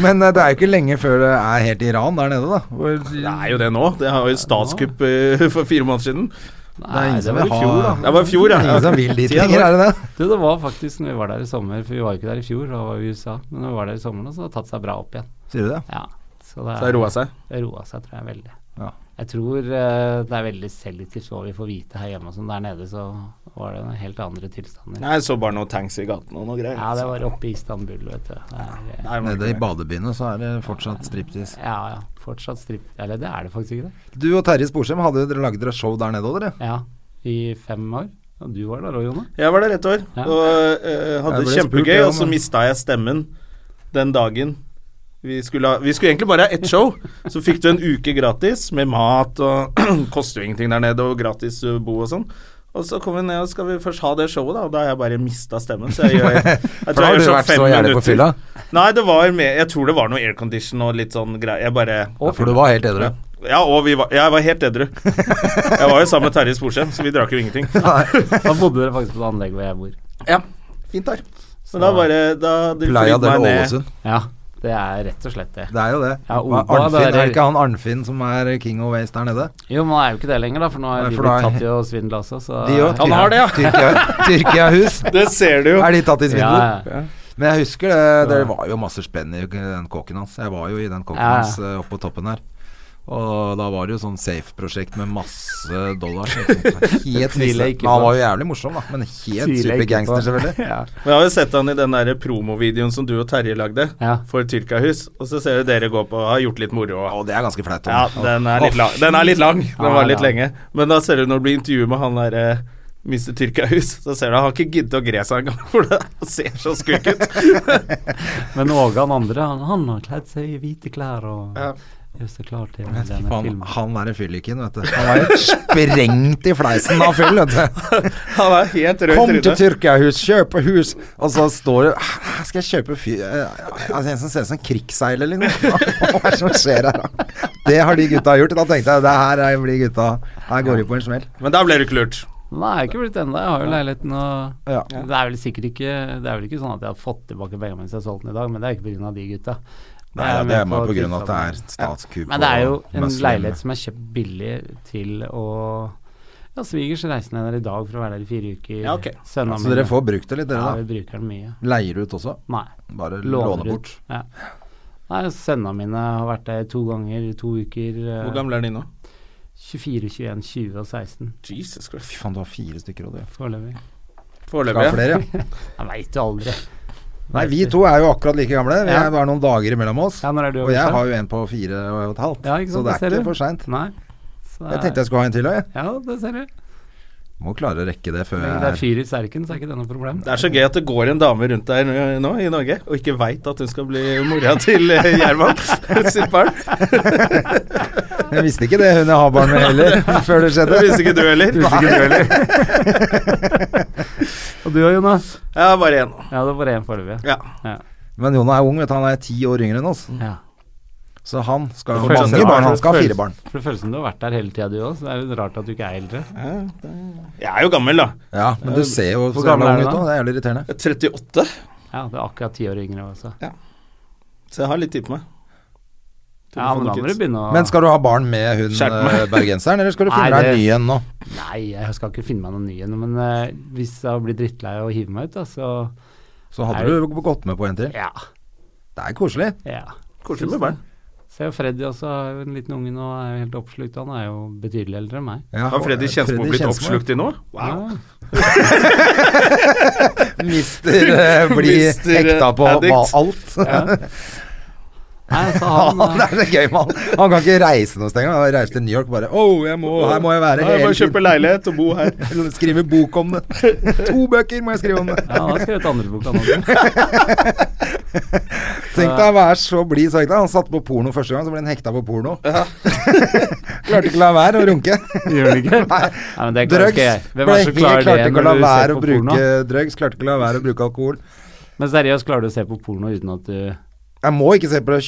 Speaker 2: Men eh, det er jo ikke lenge før det er helt Iran der nede, da. Hvor,
Speaker 1: Det er jo det nå. Det har jo statskupp eh, for fire måneder siden.
Speaker 4: nei,
Speaker 2: det er ingen som
Speaker 4: var
Speaker 2: vil
Speaker 4: i
Speaker 2: ha-
Speaker 4: fjor, da.
Speaker 1: Det var i fjor, ja.
Speaker 2: ingen som vil dit
Speaker 1: Tida går.
Speaker 2: lenger, er det det?
Speaker 4: Du, det var faktisk når vi var der i sommer, for vi var jo ikke der i fjor, da var vi i USA. Men når vi var der i sommer, nå, så har det tatt seg bra opp igjen.
Speaker 2: Sier du det?
Speaker 4: Ja, så det
Speaker 1: Så det roa seg.
Speaker 4: Det roa seg, tror jeg, veldig.
Speaker 2: Ja.
Speaker 4: Jeg tror eh, det er veldig selektivt hva vi får vite her hjemme. og Sånn der nede så var det noen helt andre tilstander.
Speaker 1: Nei, jeg så bare noen tanks i gaten og noe greier.
Speaker 4: Ja, det var oppe i Istanbul, vet du. Det er, eh,
Speaker 1: Nei, det var ikke
Speaker 2: Nede i
Speaker 1: det.
Speaker 2: badebyene så er det fortsatt striptease.
Speaker 4: ja, ja. Fortsatt stripp... Eller det er det faktisk ikke det.
Speaker 2: Du og Terje Sporsem hadde jo dere lagd dere show der nede òg, dere.
Speaker 4: Ja, i fem år. Og du var der òg, Jone.
Speaker 1: Jeg var der ett år
Speaker 4: Ja.
Speaker 1: og eh, hadde
Speaker 2: Jeg
Speaker 1: det
Speaker 2: ble spurt,
Speaker 1: kjempegøy,
Speaker 2: jeg,
Speaker 1: og så
Speaker 2: men-
Speaker 1: mista jeg stemmen den dagen. Vi skulle, ha, vi skulle egentlig bare ha ett show, så fikk du en uke gratis med mat og koster jo ingenting der nede, og gratis eh, bo og sånn. Og så kom vi ned og skal vi først ha det showet, da, og da har jeg bare mista stemmen. Så jeg gjør jeg,
Speaker 2: For da
Speaker 1: tror jeg
Speaker 2: har
Speaker 1: gjør
Speaker 2: du
Speaker 1: sånn
Speaker 2: vært
Speaker 1: fem
Speaker 2: så jævlig på
Speaker 1: minutter.
Speaker 2: fylla.
Speaker 1: Nei, det var mer Jeg tror det var noe aircondition og litt sånn greier. Jeg bare
Speaker 2: Ja, for du var helt edru.
Speaker 1: Ja, og vi var, jeg var helt edru. Jeg var jo sammen med Terje Sporsem, så vi drakk jo ingenting.
Speaker 4: Da bodde dere faktisk på det anlegget hvor jeg bor.
Speaker 1: Ja, fint der. Så da bare da, det
Speaker 2: Playa
Speaker 1: fløy
Speaker 2: del
Speaker 1: meg ned.
Speaker 2: Ålesund.
Speaker 4: Ja, det er rett og slett det.
Speaker 2: Det er jo det.
Speaker 4: Ja,
Speaker 2: Hva,
Speaker 4: Opa,
Speaker 2: Arnfinn,
Speaker 4: der
Speaker 2: er
Speaker 4: er-
Speaker 2: det ikke han Arnfinn som er king of waste der nede?
Speaker 4: Jo, men det er jo ikke det lenger, da, for nå har
Speaker 2: Nei,
Speaker 4: de
Speaker 2: for
Speaker 4: blitt
Speaker 2: da-
Speaker 4: tatt i å svindle også, så
Speaker 2: De òg.
Speaker 1: Han har det, ja.
Speaker 2: Tyrkia, Tyrkiahus.
Speaker 1: Det ser du jo.
Speaker 2: Er de tatt i
Speaker 4: ja,
Speaker 2: svindel?
Speaker 4: ja.
Speaker 2: Men jeg husker det, det var jo masse spenn i den kåken hans. Jeg var jo i den kåken
Speaker 4: Ja, ja.
Speaker 2: hans eh, oppe på toppen der. Og da var det jo sånn safe-prosjekt med masse dollar. Helt
Speaker 4: Tviler
Speaker 2: nisse.
Speaker 4: jeg ikke
Speaker 2: Men han
Speaker 4: på.
Speaker 2: var jo jævlig morsom, da. Men helt
Speaker 4: Tviler jeg ikke på.
Speaker 2: supergangster, selvfølgelig.
Speaker 4: Ja.
Speaker 1: Men Jeg har jo sett han i den der promovideoen som du og Terje lagde
Speaker 4: Ja.
Speaker 1: for Tyrkiahus, og så ser du dere gå på og har gjort litt moro. Og
Speaker 2: Og det er ganske flaut.
Speaker 1: ja,
Speaker 2: Tom.
Speaker 1: den er
Speaker 2: Å,
Speaker 1: litt lang. Den, er litt lang. den
Speaker 4: Ja,
Speaker 1: var litt
Speaker 4: ja.
Speaker 1: lenge. Men da ser du når det blir intervju med han derre Mr. Tyrkiahus, så ser du han har ikke giddet å gre seg engang, for det ser så skurk ut.
Speaker 4: Men Åge han andre, han, han har kledd seg i hvite klær og
Speaker 1: Ja.
Speaker 4: gjør seg klar til
Speaker 2: fy
Speaker 4: denne
Speaker 2: Faen,
Speaker 4: filmen.
Speaker 2: han er en fylliken, vet du. Han var helt sprengt i fleisen av fyll, vet du.
Speaker 1: Han er helt rød
Speaker 2: Kom til
Speaker 1: i trynet.
Speaker 2: Tyrkiahus, kjøpe hus! Og så står det Her skal jeg kjøpe fyr altså, En som ser ut som en krigsseiler, eller noe. Hva er det som skjer her, da? Det har de gutta gjort. Da tenkte jeg det her er- blir gutta Her går de på en smell.
Speaker 1: Men der ble du ikke lurt.
Speaker 4: Nei, jeg er ikke blitt ennå. Jeg har jo leiligheten og
Speaker 2: Ja.
Speaker 4: Det er vel sikkert ikke Det er vel ikke sånn at jeg har fått tilbake pengene mens jeg har solgt den i dag, men det er ikke pga. de gutta. Det
Speaker 2: Nei, ja, det er
Speaker 4: mer
Speaker 2: bare på grunn av at det
Speaker 4: tilstanden.
Speaker 2: er statskupp
Speaker 4: Men det er jo
Speaker 2: og
Speaker 4: en
Speaker 2: muslim.
Speaker 4: leilighet som er kjøpt billig til å Ja, svigers reiser ned der i dag for å være der i fire uker.
Speaker 1: Ja, ok.
Speaker 4: Søndag
Speaker 2: Så dere får brukt det litt,
Speaker 4: Ja,
Speaker 2: dere, da?
Speaker 4: vi bruker den mye.
Speaker 2: Leier ut også?
Speaker 4: Nei.
Speaker 2: Bare
Speaker 4: Låner
Speaker 2: låne
Speaker 4: ut.
Speaker 2: bort?
Speaker 4: Ja. Nei, Sønnene mine har vært der to ganger i to uker. eh,
Speaker 1: Hvor gammel er de nå?
Speaker 4: 24, 21, 20 og 16
Speaker 1: Jesus Christ.
Speaker 2: Fy faen, du har fire stykker og du.
Speaker 4: foreløpig.
Speaker 2: Skal ha
Speaker 1: Foreløpig.
Speaker 2: flere?
Speaker 4: Jeg veit jo aldri.
Speaker 2: Nei, vi to er jo akkurat like gamle. Vi
Speaker 4: Ja.
Speaker 2: er bare noen dager imellom oss.
Speaker 4: Ja, når er du
Speaker 2: Og jeg
Speaker 4: overstått?
Speaker 2: har jo en på fire og et halvt.
Speaker 4: Ja, ikke
Speaker 2: Så
Speaker 4: sant,
Speaker 2: det
Speaker 4: det ser
Speaker 2: er
Speaker 4: du.
Speaker 2: ikke for seint.
Speaker 4: Nei. Så
Speaker 2: Jeg tenkte jeg skulle ha en til òg, jeg.
Speaker 4: Ja, det ser du.
Speaker 2: Må klare å rekke det før
Speaker 4: Men
Speaker 2: jeg
Speaker 4: det er
Speaker 2: er
Speaker 4: fyr i serken, så er ikke det noe problem.
Speaker 1: Det er så gøy at det går en dame rundt der nå- nå i Norge og ikke veit at hun skal bli mora til eh, Gjerman sitt barn.
Speaker 2: Jeg visste ikke det hun jeg har barn med heller, før det skjedde.
Speaker 1: Det visste ikke du heller.
Speaker 4: Og du og Jonas?
Speaker 1: Ja, bare én.
Speaker 4: Ja, det er bare én foreløpig.
Speaker 1: Ja.
Speaker 4: Ja.
Speaker 2: Men Jonah er ung, vet du. Han er ti år yngre enn oss.
Speaker 4: ja.
Speaker 2: Så han skal ha
Speaker 1: Det føles-
Speaker 2: mange barn. Han
Speaker 1: det
Speaker 2: skal ha
Speaker 4: føles-
Speaker 2: fire barn.
Speaker 4: For det føles som du har vært der hele tida, du òg, så det er jo rart at du ikke er eldre.
Speaker 1: Jeg er jo gammel, da.
Speaker 2: Ja, men du ser jo
Speaker 4: Hvor
Speaker 2: så jævla
Speaker 4: gammel er
Speaker 2: ung
Speaker 4: du
Speaker 2: ut
Speaker 4: da?
Speaker 2: òg. Det er jævlig irriterende.
Speaker 1: Jeg er 38,
Speaker 4: Ja, du er akkurat ti år yngre også.
Speaker 1: så jeg har litt tid på meg.
Speaker 4: Ja, men da må du begynne å
Speaker 2: Men skal du ha barn med hun
Speaker 1: Skjerp meg.
Speaker 2: eh, bergenseren, eller skal du finne
Speaker 4: Nei,
Speaker 2: deg en
Speaker 4: det-
Speaker 2: ny en nå?
Speaker 4: Nei, jeg skal ikke finne meg noen ny en, men eh, hvis jeg blir drittlei og hiver meg ut, da, så
Speaker 2: Så hadde du gått med på en til.
Speaker 4: ja.
Speaker 2: Det er koselig.
Speaker 4: ja.
Speaker 1: Koselig med barn.
Speaker 4: Se, Freddy også har jo en liten unge nå, er jo helt oppslukt. Han er jo betydelig eldre enn meg.
Speaker 2: Ja,
Speaker 1: Har Freddy Kjensmo blitt
Speaker 2: Kjensmo, ja.
Speaker 1: oppslukt i noe? Wow.
Speaker 4: Ja.
Speaker 2: Mister eh, Bli
Speaker 1: Mister, eh,
Speaker 2: hekta på
Speaker 1: addict.
Speaker 2: hva- alt.
Speaker 4: Nei, så
Speaker 2: Han,
Speaker 4: han, eh,
Speaker 2: er så gøy, mann. Han kan ikke reise noe sted engang. Han reiser til New York bare Oh, jeg må, her må jeg være
Speaker 1: Jeg må
Speaker 2: hele
Speaker 1: kjøpe leilighet og bo her.
Speaker 2: tiden. Skrive bok om det. To bøker må jeg skrive om det.
Speaker 4: ja, han har skrevet andre bok, han også.
Speaker 2: Tenk deg å være så blid så hekta. Han satte på porno første gang, så ble han hekta på porno. Klarte ikke å la være å runke.
Speaker 4: Gjør han ikke?
Speaker 2: Nei.
Speaker 4: Nei, men det klarer
Speaker 2: Drugs.
Speaker 4: ikke jeg.
Speaker 2: Ble
Speaker 4: Hvem er det som
Speaker 2: helt-
Speaker 4: klarer det
Speaker 2: klarte ikke
Speaker 4: når
Speaker 2: å la
Speaker 4: du ser
Speaker 2: være å
Speaker 4: på porno?
Speaker 2: bruke drugs, klarte ikke å la være å bruke alkohol.
Speaker 4: Men seriøst, klarer du å se på porno uten at du
Speaker 2: Jeg må ikke se på det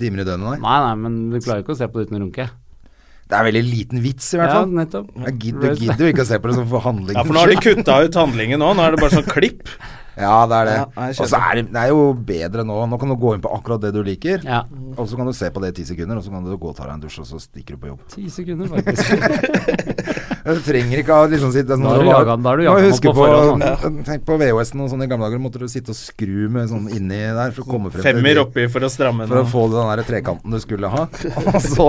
Speaker 2: 24 timer i døgnet, nei.
Speaker 4: Nei, nei, men du klarer ikke å se på det uten å runke.
Speaker 2: Det er veldig liten vits, i hvert
Speaker 4: Ja,
Speaker 2: fall.
Speaker 4: nettopp.
Speaker 2: Jeg gidder, du gidder jo ikke å se på det som forhandling.
Speaker 1: Ja, for nå har de kutta ut handlingen nå. Nå er det bare sånn klipp.
Speaker 2: Ja, det er det.
Speaker 1: Ja, nei, jeg
Speaker 2: og så er det, det er jo bedre nå. Nå kan du gå inn på akkurat det du liker,
Speaker 4: Ja.
Speaker 2: og så kan du se på det i ti sekunder, og så kan du gå og ta deg en dusj, og så stikker du på jobb.
Speaker 4: Ti sekunder, faktisk.
Speaker 2: Du trenger ikke å liksom sitte sånn
Speaker 4: Da har du jaga- da har du
Speaker 2: Nå
Speaker 4: jaga den
Speaker 2: husker
Speaker 4: opp på forhånd,
Speaker 2: på Tenk på VHS-en og sånn i gamle dager, måtte du sitte og skru med sånn inni der for å komme frem
Speaker 1: Femmer
Speaker 2: det-
Speaker 1: oppi for å stramme
Speaker 2: For å
Speaker 1: den.
Speaker 2: få den der trekanten du skulle ha. Og så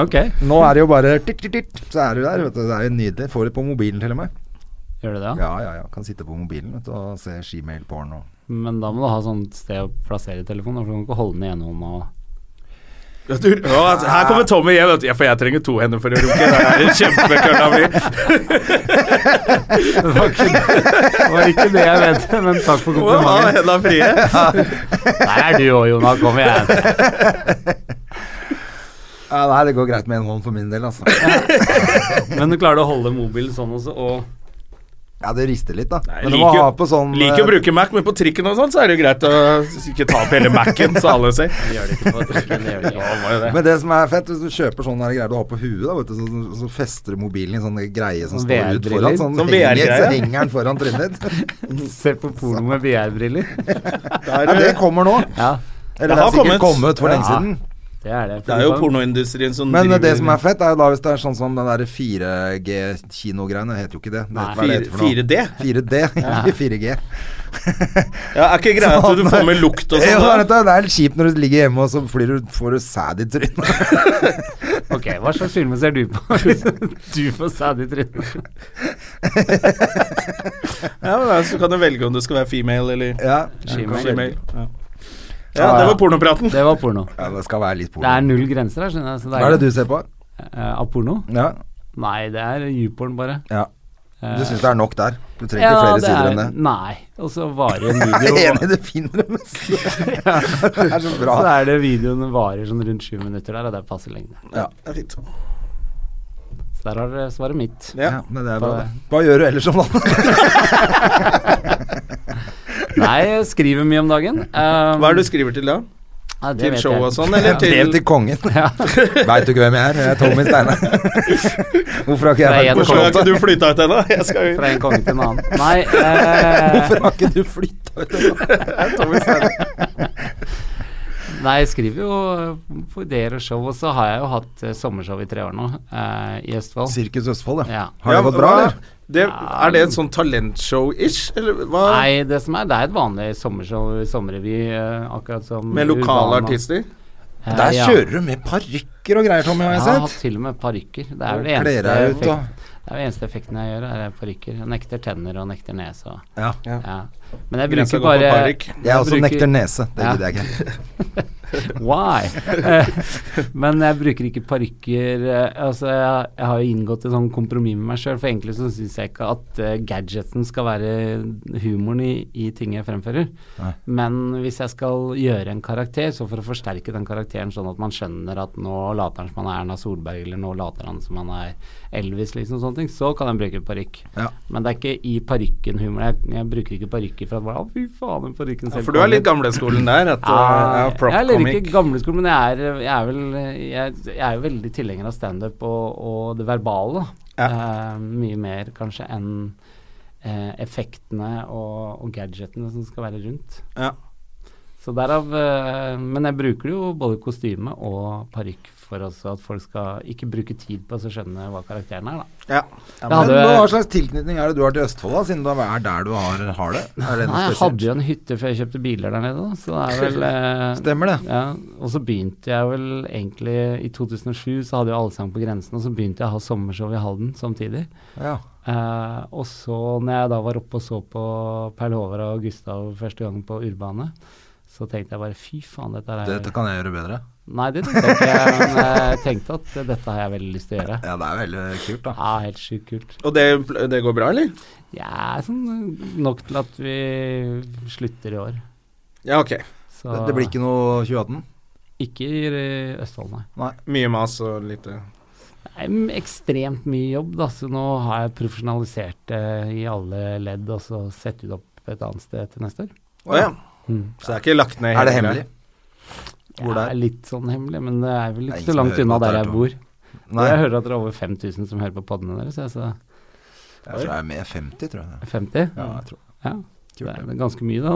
Speaker 4: Ok,
Speaker 2: Nå er det jo bare titt, titt, titt, så er du der. Vet du. Det er jo nydelig. Får det på mobilen til og med.
Speaker 4: gjør du det? Ja?
Speaker 2: Ja, ja, ja. Kan sitte på mobilen vet du, og se Gmail-porn og
Speaker 4: Men da må du ha sånt sted å plassere telefonen, for du kan ikke holde den i ene hånda. og-
Speaker 1: Ja, du, å, altså, her kommer Tommy hjem, vet du. Ja, for jeg trenger to hender for å runke. Det er en kjempekølla mi.
Speaker 4: Det var ikke det, det, var ikke det jeg mente, men takk for
Speaker 1: Må ha
Speaker 4: komplimenten.
Speaker 1: henda frie.
Speaker 4: Der er du òg, Jonah. Kom igjen.
Speaker 2: ja, Nei, det går greit med en hånd for min del, altså.
Speaker 4: Men du klarer å holde mobilen sånn også, og
Speaker 2: Ja, det rister litt, da.
Speaker 1: Nei,
Speaker 2: Men du må
Speaker 1: liker jo-
Speaker 2: ha på sånn
Speaker 1: Liker å
Speaker 2: eh,
Speaker 1: bruke Mac, men på trikken og sånn, så er det jo greit å ikke ta opp hele Mac-en, så alle ser.
Speaker 4: gjør det ikke på trikken. Det gjør det ikke.
Speaker 2: Men det som er fett, hvis du kjøper sånne her greier du har på huet, da, vet du, så, så fester du mobilen i sånne greie som
Speaker 4: Sånn
Speaker 2: står ut foran.
Speaker 4: VR-briller.
Speaker 2: Sånn
Speaker 1: Sånn
Speaker 2: henger,
Speaker 1: VR-greie.
Speaker 2: så henger den foran trynet ditt.
Speaker 4: Se på porno med VR-briller.
Speaker 1: Da
Speaker 2: Ja,
Speaker 1: er
Speaker 2: det
Speaker 1: det,
Speaker 2: kommer nå.
Speaker 4: Ja,
Speaker 2: Eller det
Speaker 1: har
Speaker 2: er sikkert
Speaker 1: kommet.
Speaker 2: kommet for lenge
Speaker 4: Ja.
Speaker 2: siden.
Speaker 4: det er det.
Speaker 1: det er jo pornoindustrien eh, som
Speaker 2: Men eh,
Speaker 1: driver
Speaker 2: det som er fett, er jo da hvis det er sånn som den der 4G-kinogreiene. Det heter jo ikke det. det
Speaker 4: Nei.
Speaker 2: heter, hva er det heter for noe?
Speaker 1: 4D?
Speaker 2: 4D, ikke 4G.
Speaker 1: Ja, er ikke greia at du får med lukt og
Speaker 2: Ja,
Speaker 1: sånn?
Speaker 2: det er- det er litt kjipt når du ligger hjemme og så flyr du, får du sæd i trynet.
Speaker 4: Ok, hva slags filmer ser du på? du får sæd i trynet.
Speaker 1: Ja, men da, så kan du velge om du skal være female eller
Speaker 2: Ja,
Speaker 4: Gmail.
Speaker 1: female. Ja. ja, det var pornopraten.
Speaker 4: Det var porno.
Speaker 2: ja, det skal være litt porno.
Speaker 4: Det er null grenser her, skjønner jeg. Så det
Speaker 2: Hva er det du ser på?
Speaker 4: eh, av porno?
Speaker 2: Ja,
Speaker 4: Nei, det er YouPorn, bare.
Speaker 2: ja.
Speaker 4: Eh,
Speaker 2: Du syns det er nok der? Du trenger ikke flere
Speaker 4: det
Speaker 2: sider
Speaker 4: er-
Speaker 2: enn det?
Speaker 4: Nei. Og så varer en
Speaker 2: Jeg er enig,
Speaker 4: video
Speaker 2: du finner det meste. Det er så
Speaker 4: Så
Speaker 2: bra.
Speaker 4: er det videoen varer sånn rundt sju minutter der, og det er passe lengde.
Speaker 1: Ja, det er fint.
Speaker 4: Så der har dere svaret mitt.
Speaker 2: Ja,
Speaker 1: Ja.
Speaker 2: men det er bra. det. Hva gjør du ellers om dagen?
Speaker 4: Nei, jeg skriver mye om dagen. Um,
Speaker 1: Hva er det du skriver til da?
Speaker 4: Nei, det
Speaker 1: Til
Speaker 4: vet
Speaker 1: show
Speaker 4: jeg.
Speaker 1: og sånn, eller
Speaker 2: Brev
Speaker 1: til
Speaker 2: til kongen.
Speaker 4: Ja.
Speaker 2: Veit du ikke hvem jeg er? Jeg er Tommy Steine. Hvorfor har ikke
Speaker 4: Det er
Speaker 2: jeg vært på
Speaker 1: Hvorfor
Speaker 4: en
Speaker 1: har
Speaker 2: Slottet?
Speaker 1: ikke du flytta ut ennå? Jeg skal
Speaker 4: Fra
Speaker 1: jo
Speaker 4: en konge til en annen. Nei, eh,
Speaker 2: Hvorfor har ikke du flytta ut?
Speaker 4: nei, jeg skriver jo for dere og show, og så har jeg jo hatt eh, sommershow i tre år nå, eh, i Østfold.
Speaker 2: Sirkus Østfold, ja.
Speaker 4: Ja.
Speaker 2: Har det
Speaker 1: Ja,
Speaker 2: gått bra,
Speaker 1: hva-
Speaker 2: eller?
Speaker 1: Det, er det et sånn talentshow-ish, eller hva?
Speaker 4: Nei, det som er, det er et vanlig sommershow, sommerrevy, eh, akkurat som
Speaker 1: Med lokale
Speaker 4: Urbana.
Speaker 1: artister?
Speaker 4: Eh,
Speaker 2: Der
Speaker 4: ja.
Speaker 2: kjører du med parykker og greier, Tommy, har
Speaker 4: Jeg
Speaker 2: jeg
Speaker 4: har hatt
Speaker 2: sett.
Speaker 4: til og med parykker. Det er
Speaker 2: Og
Speaker 4: vel det eneste,
Speaker 2: kler deg ut, da.
Speaker 4: effekt- det er jo eneste effekten jeg gjør, er parykker. Jeg nekter tenner og nekter nese og
Speaker 2: Ja.
Speaker 4: ja. Men jeg
Speaker 1: Grensa
Speaker 4: bruker
Speaker 1: går på
Speaker 4: bare
Speaker 1: parykk.
Speaker 2: Jeg også
Speaker 4: bruker-
Speaker 2: nekter nese. Det
Speaker 4: Ja.
Speaker 2: gidder jeg ikke.
Speaker 4: Why? Eh, Men jeg bruker ikke parykker eh, Altså, jeg, jeg har jo inngått et sånn kompromiss med meg sjøl, for egentlig så syns jeg ikke at eh, gadgeten skal være humoren i, i ting jeg fremfører. Men hvis jeg skal gjøre en karakter, så for å forsterke den karakteren sånn at man skjønner at nå later han som han er Erna Solberg, eller nå later han som han er Elvis, liksom sånne ting, så kan han bruke parykk.
Speaker 2: Ja.
Speaker 4: Men det er ikke i parykken humor. Jeg, jeg bruker ikke parykker for at bare, Å, fy faen, den parykken
Speaker 1: For du er litt gamleskolen der. At,
Speaker 4: ja,
Speaker 1: uh, prop
Speaker 4: eh, jeg er litt
Speaker 1: comic.
Speaker 4: ikke gamleskole, men jeg er, jeg er vel jeg, jeg er jo veldig tilhenger av standup og, og det verbale. da. Eh, mye mer kanskje enn eh, effektene og, og gadgetene som skal være rundt.
Speaker 1: Ja.
Speaker 4: Så derav eh, Men jeg bruker jo både kostyme og parykk for også at folk skal ikke bruke tid på å skjønne hva karakteren er, da.
Speaker 1: Ja.
Speaker 4: Jeg hadde,
Speaker 2: Men hva slags tilknytning er det du har til Østfold, da, siden du er der du har, har det? Er det noe
Speaker 4: nei, jeg hadde
Speaker 2: spesielt?
Speaker 4: jo en hytte før jeg kjøpte biler der nede, da, så det er vel eh,
Speaker 2: Stemmer det.
Speaker 4: Ja, og så begynte jeg vel egentlig I 2007 så hadde jeg Allsang på grensen, og så begynte jeg å ha sommershow i Halden samtidig.
Speaker 2: Ja.
Speaker 4: Eh, og så når jeg da var oppe og så på Perl Håvard og Gustav første gang på Urbane, så tenkte jeg bare fy faen, dette er
Speaker 2: Dette kan jeg gjøre bedre.
Speaker 4: Nei, det tenkte jeg ikke, men eh, jeg tenkte at dette har jeg veldig lyst til å gjøre.
Speaker 2: Ja, det er veldig kult, da.
Speaker 4: Ja, helt sjukt kult.
Speaker 1: Og det, det går bra, eller?
Speaker 4: Ja, sånn nok til at vi slutter i år.
Speaker 1: Ja, ok.
Speaker 4: Så
Speaker 2: Det, det blir ikke noe 2018?
Speaker 4: ikke i Østfold, nei.
Speaker 1: Mye mas og lite
Speaker 4: Det er m- ekstremt mye jobb, da, så nå har jeg profesjonalisert det i alle ledd, og så setter vi det opp et annet sted til neste år.
Speaker 1: Å ja.
Speaker 4: Mm.
Speaker 1: Så det er ikke lagt ned
Speaker 2: Er det
Speaker 1: hele
Speaker 2: hemmelig? Hvor
Speaker 4: det
Speaker 2: det er?
Speaker 4: er litt sånn hemmelig, men det er vel
Speaker 2: Det er
Speaker 4: ikke
Speaker 2: ingen
Speaker 4: så
Speaker 2: som
Speaker 4: langt
Speaker 2: hører
Speaker 4: unna
Speaker 2: på
Speaker 4: der
Speaker 2: dette
Speaker 4: jeg
Speaker 2: her,
Speaker 4: bor.
Speaker 2: Nei,
Speaker 4: Jeg
Speaker 2: jeg
Speaker 4: hører at det er over 5000 som hører på podene deres, jeg, så
Speaker 2: tror det er med 50, tror jeg.
Speaker 4: 50?
Speaker 2: Ja, jeg tror.
Speaker 4: Ja,
Speaker 2: Kult,
Speaker 4: det
Speaker 2: det.
Speaker 4: er det ganske mye, da.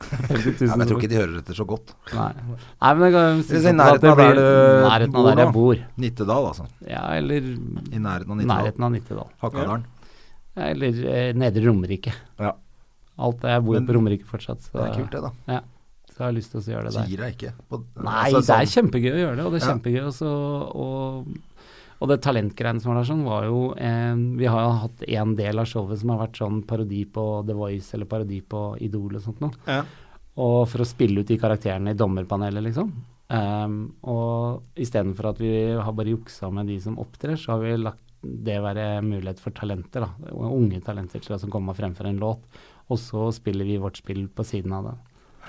Speaker 4: 50 000
Speaker 2: Ja, men jeg tror
Speaker 4: som-
Speaker 2: ikke de hører etter så godt.
Speaker 4: Nei. Nei, men det kan
Speaker 2: Det er i
Speaker 4: sånn at det
Speaker 2: nærheten av der
Speaker 4: blir
Speaker 2: du
Speaker 4: nærheten av
Speaker 2: bor
Speaker 4: der jeg
Speaker 2: nå.
Speaker 4: bor.
Speaker 2: Nittedal, altså.
Speaker 4: Ja, eller
Speaker 2: I nærheten av Nittedal.
Speaker 4: nærheten av Nittedal.
Speaker 2: Hakadalen.
Speaker 4: Eller eh, Nedre Romerike.
Speaker 2: Ja.
Speaker 4: Alt jeg bor
Speaker 2: Men-
Speaker 4: på Romerike fortsatt, så
Speaker 2: Det er kult, det, da.
Speaker 4: Så jeg har lyst til å gjøre det der.
Speaker 2: Sier jeg ikke. På,
Speaker 4: Nei,
Speaker 2: altså,
Speaker 4: det er
Speaker 2: sånn-
Speaker 4: kjempegøy å gjøre det, og det er
Speaker 2: Ja.
Speaker 4: kjempegøy også. Og, og det talentgreiene som var der sånn, var jo eh, Vi har jo hatt en del av showet som har vært sånn parodi på The Voice eller parodi på Idol og sånt noe.
Speaker 1: Ja.
Speaker 4: Og for å spille ut de karakterene i dommerpanelet, liksom. Um, og istedenfor at vi har bare juksa med de som opptrer, så har vi lagt det være mulighet for talenter, da. Unge talenter til å komme og fremføre en låt. Og så spiller vi vårt spill på siden av det.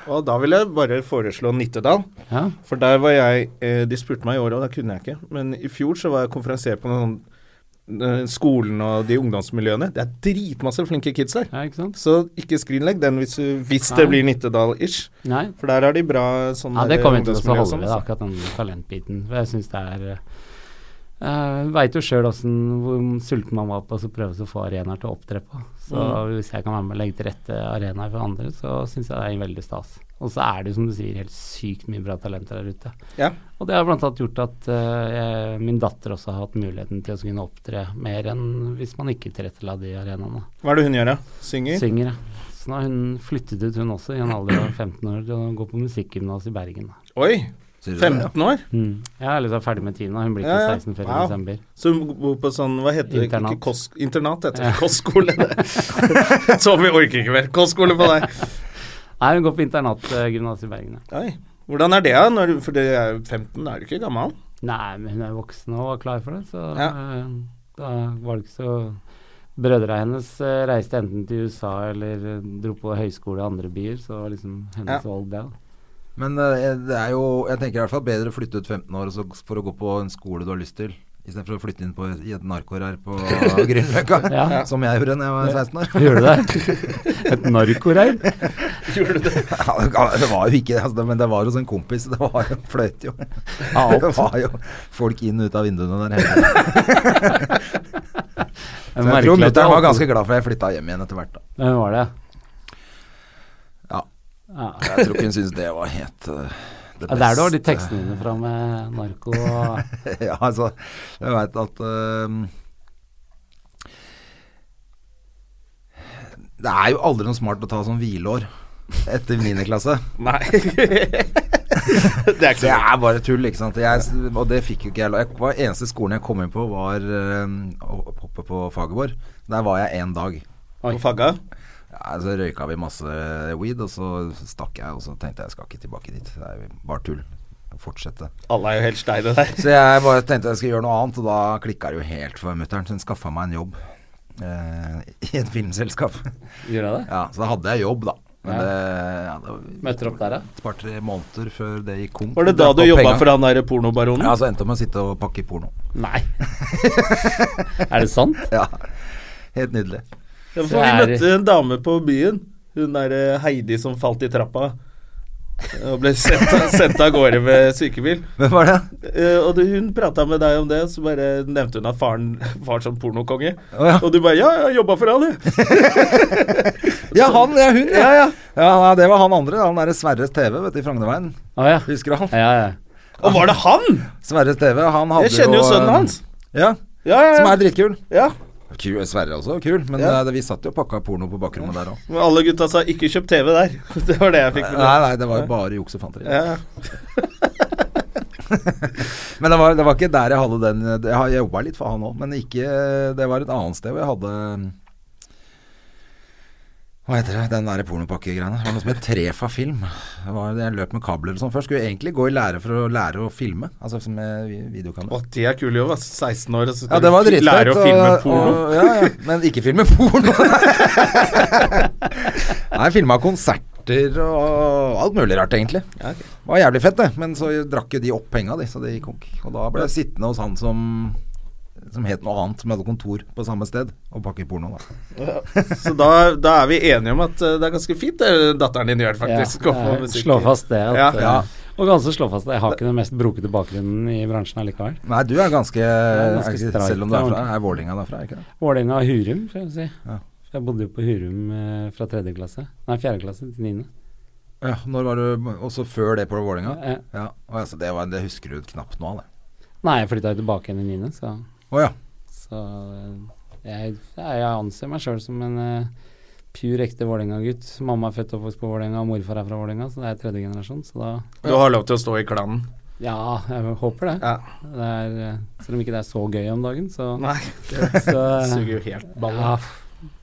Speaker 1: Og da vil jeg bare foreslå Nittedal.
Speaker 4: Ja.
Speaker 1: For der var jeg eh, De spurte meg i år, og da kunne jeg ikke. Men i fjor så var jeg konferansier på noen eh, skolen og de ungdomsmiljøene. Det er dritmasse flinke kids der.
Speaker 4: ja, ikke sant?
Speaker 1: Så ikke skrinlegg den hvis, du, hvis det
Speaker 4: Nei.
Speaker 1: blir Nittedal-ish.
Speaker 4: Nei,
Speaker 1: For der er de bra sånn
Speaker 4: Ja, det
Speaker 1: der
Speaker 4: kommer vi til å
Speaker 1: ungdomsmiljø og
Speaker 4: holde
Speaker 1: sånn,
Speaker 4: ved,
Speaker 1: altså.
Speaker 4: akkurat den talentbiten. For jeg syns det er uh, Veit jo sjøl hvor sulten man var på å prøve å få arenaer til å opptre på. Så hvis jeg kan være med og legge til rette arenaer for andre, så syns jeg det er veldig stas. Og så er det jo, som du sier, helt sykt mye bra talenter der ute.
Speaker 1: altså. Ja.
Speaker 4: Og det har blant annet gjort at eh, jeg, min datter også har hatt muligheten til å kunne opptre mer enn hvis man ikke tilrettela de arenaene.
Speaker 1: Hva er det hun gjør, da? Synger?
Speaker 4: Synger, ja. Så nå har hun flyttet ut, hun også, i en alder av 15 år, til å gå på musikkgymnas i Bergen. da.
Speaker 1: Oi!
Speaker 2: Sier du det,
Speaker 1: 15 år?
Speaker 4: Mm. Jeg er liksom ferdig med tiende, hun blir ikke
Speaker 1: Ja, ja.
Speaker 4: 16 før i
Speaker 1: Wow.
Speaker 4: desember.
Speaker 1: Så hun bor på sånn Hva heter det?
Speaker 4: Internat.
Speaker 1: Ikke kos, internat, heter det. Kostskole. Tommy orker ikke mer. Kostskole på deg.
Speaker 4: Nei, hun går på internatgymnas i Bergen. ja.
Speaker 1: Oi. Hvordan er det, da? Når, du- for det er 15, da er du ikke gammel?
Speaker 4: Nei, men hun er jo voksen og var klar for det, så
Speaker 1: Ja.
Speaker 4: eh, da var det ikke så Brødra hennes eh, reiste enten til USA eller eh, dro på høyskole i andre byer, så det var liksom hennes
Speaker 1: Ja.
Speaker 4: valg det. da.
Speaker 2: Men eh, det er jo Jeg tenker i hvert fall bedre å flytte ut 15 år og så, for å gå på en skole du har lyst til, istedenfor å flytte inn på, i et narkår her på Grünerløkka.
Speaker 4: Ja.
Speaker 2: Som jeg gjorde da jeg var 16 år.
Speaker 4: Gjorde du det? Et narkoreir?
Speaker 1: Gjorde du det?
Speaker 2: Ja, det var jo ikke det, altså, men det var hos en kompis. Det var jo fløyt, jo.
Speaker 4: Alt.
Speaker 2: Det var jo folk inn og ut av vinduene der hele tiden. Så Jeg tror mutter'n var ganske glad for at jeg flytta hjem igjen etter hvert, da.
Speaker 4: Hvem var det?
Speaker 2: Ja.
Speaker 4: ja.
Speaker 2: Jeg tror ikke hun syntes det var helt eh, det
Speaker 4: Ja, Der du har de
Speaker 2: beste.
Speaker 4: tekstene dine fra med narko og
Speaker 2: ja, altså, jeg veit at ehm, øhm, Det er jo aldri noe smart å ta sånn hvileår etter 9. klasse.
Speaker 1: Nei. det
Speaker 2: Det
Speaker 1: er ikke så
Speaker 2: er bare tull, ikke sant. Jeg, og det fikk jo ikke jeg lov jeg- var- Eneste skolen jeg kom inn på, var øhm, å- oppe på Fagerborg. Der var jeg én dag.
Speaker 1: På fagga?
Speaker 2: Ja, så røyka vi masse weed, og så stakk jeg. Og så tenkte jeg jeg skal ikke tilbake dit. Det er jo bare tull. Fortsette.
Speaker 1: Alle er jo helt steine der.
Speaker 2: Så jeg bare tenkte jeg skulle gjøre noe annet, og da klikka det jo helt for mutter'n. Så hun skaffa meg en jobb eh, i et filmselskap.
Speaker 4: Gjorde jeg det?
Speaker 2: Ja, Så da hadde jeg jobb, da. Men
Speaker 4: Ja.
Speaker 2: det, ja, det
Speaker 4: Møter opp der, ja.
Speaker 2: var et par-tre måneder før det gikk konk.
Speaker 1: Var det da du jobba for han derre pornobaronen?
Speaker 2: Ja, så endte jeg med å sitte og pakke porno.
Speaker 4: Nei. er det sant?
Speaker 2: Ja, Helt nydelig.
Speaker 1: Ja, for vi
Speaker 4: Så er-
Speaker 1: møtte en dame på byen. Hun derre Heidi som falt i trappa. Og ble sendt, sendt av gårde med sykebil.
Speaker 2: Hvem var det?
Speaker 1: Eh, og det, hun prata med deg om det, så bare nevnte hun at faren var sånn pornokonge.
Speaker 2: Å, ja.
Speaker 1: Og du bare 'ja, jeg jobba for han, jeg'.
Speaker 2: Ja, han, ja, hun, ja.
Speaker 1: Ja, ja.
Speaker 2: ja. nei, Det var han andre, han derre Sverres TV vet du, i Frognerveien.
Speaker 4: Å ja.
Speaker 2: Husker du han?
Speaker 4: Ja, ja.
Speaker 1: Og var det han?!
Speaker 2: Sverres TV, han hadde
Speaker 1: Jeg kjenner jo sønnen
Speaker 2: eh,
Speaker 1: hans.
Speaker 2: Ja,
Speaker 1: Ja, ja,
Speaker 2: som
Speaker 1: ja.
Speaker 2: er drittkul.
Speaker 1: ja.
Speaker 2: Kul, eh, Sverre også, kul, men
Speaker 1: Ja.
Speaker 2: eh, vi satt jo og pakka porno på bakrommet der òg.
Speaker 1: Men alle gutta sa 'ikke kjøp TV der'. Det var det jeg fikk med
Speaker 2: Nei,
Speaker 1: meg.
Speaker 2: nei, det var jo bare juks og fanteri.
Speaker 1: Ja.
Speaker 2: Men det var, det var ikke der jeg hadde den eh, Jeg, har- jeg jobba litt for han òg, men ikke eh, Det var et annet sted hvor jeg hadde eh, Hva heter det? Den derre pornopakkegreiene. Det var noe som het Trefa film. Det var, jeg løp med kabler og sånn først. Skulle egentlig gå i lære for å lære å filme, altså som med vi- videokamera.
Speaker 1: Å, det er kul jobb, ass. 16 år, og så skal
Speaker 2: Ja, det var
Speaker 1: du fi-
Speaker 2: dritfett.
Speaker 1: lære å filme
Speaker 2: og-
Speaker 1: porno.
Speaker 2: og- Ja, ja. Men ikke filme porno. Nei, jeg filma konserter og alt mulig rart, egentlig.
Speaker 1: Ja, ok.
Speaker 2: Det var jævlig fett, det. Men så drakk jo de opp penga, de, så det gikk konk. Og da ble jeg sittende hos han som som het noe annet, som hadde kontor på samme sted, og pakke porno. da.
Speaker 1: Så da, da er vi enige om at eh, det er ganske fint det datteren din gjør, faktisk. å få
Speaker 4: Ja,
Speaker 1: musikk.
Speaker 4: slå fast det. At,
Speaker 1: Ja, ja.
Speaker 4: eh, Og ganske slå fast det. Jeg har ikke den mest brokete bakgrunnen i bransjen allikevel.
Speaker 2: Nei, du er ganske,
Speaker 4: er ganske
Speaker 2: er ikke-
Speaker 4: streit,
Speaker 2: Selv om du er
Speaker 4: det er
Speaker 2: fra er Vålinga derfra, er ikke det?
Speaker 4: Vålerenga og Hurum, får jeg si.
Speaker 2: Ja.
Speaker 4: For Jeg bodde jo på Hurum eh, fra tredje klasse. Nei, fjerde klasse til niende.
Speaker 2: Ja, når var du Også før det på Vålinga?
Speaker 4: Eh,
Speaker 2: Ja. Å, ja, så det, var, det husker du knapt nå, det.
Speaker 4: Nei, jeg flytta jo tilbake igjen i niende, så,
Speaker 2: Å ja.
Speaker 4: så eh, jeg, ja, jeg anser meg sjøl som en eh, pur ekte Vålerenga-gutt. Mamma er født og oppvokst på Vålerenga, og morfar er fra Vålerenga, så det er tredje generasjon. Så da
Speaker 1: Du har lov til å stå i klanen.
Speaker 4: Ja, jeg håper det.
Speaker 1: Ja.
Speaker 4: det er, eh, selv om ikke det er så gøy om dagen, så,
Speaker 1: Nei,
Speaker 4: så eh,
Speaker 1: det suger jo helt ballen.
Speaker 4: Ja,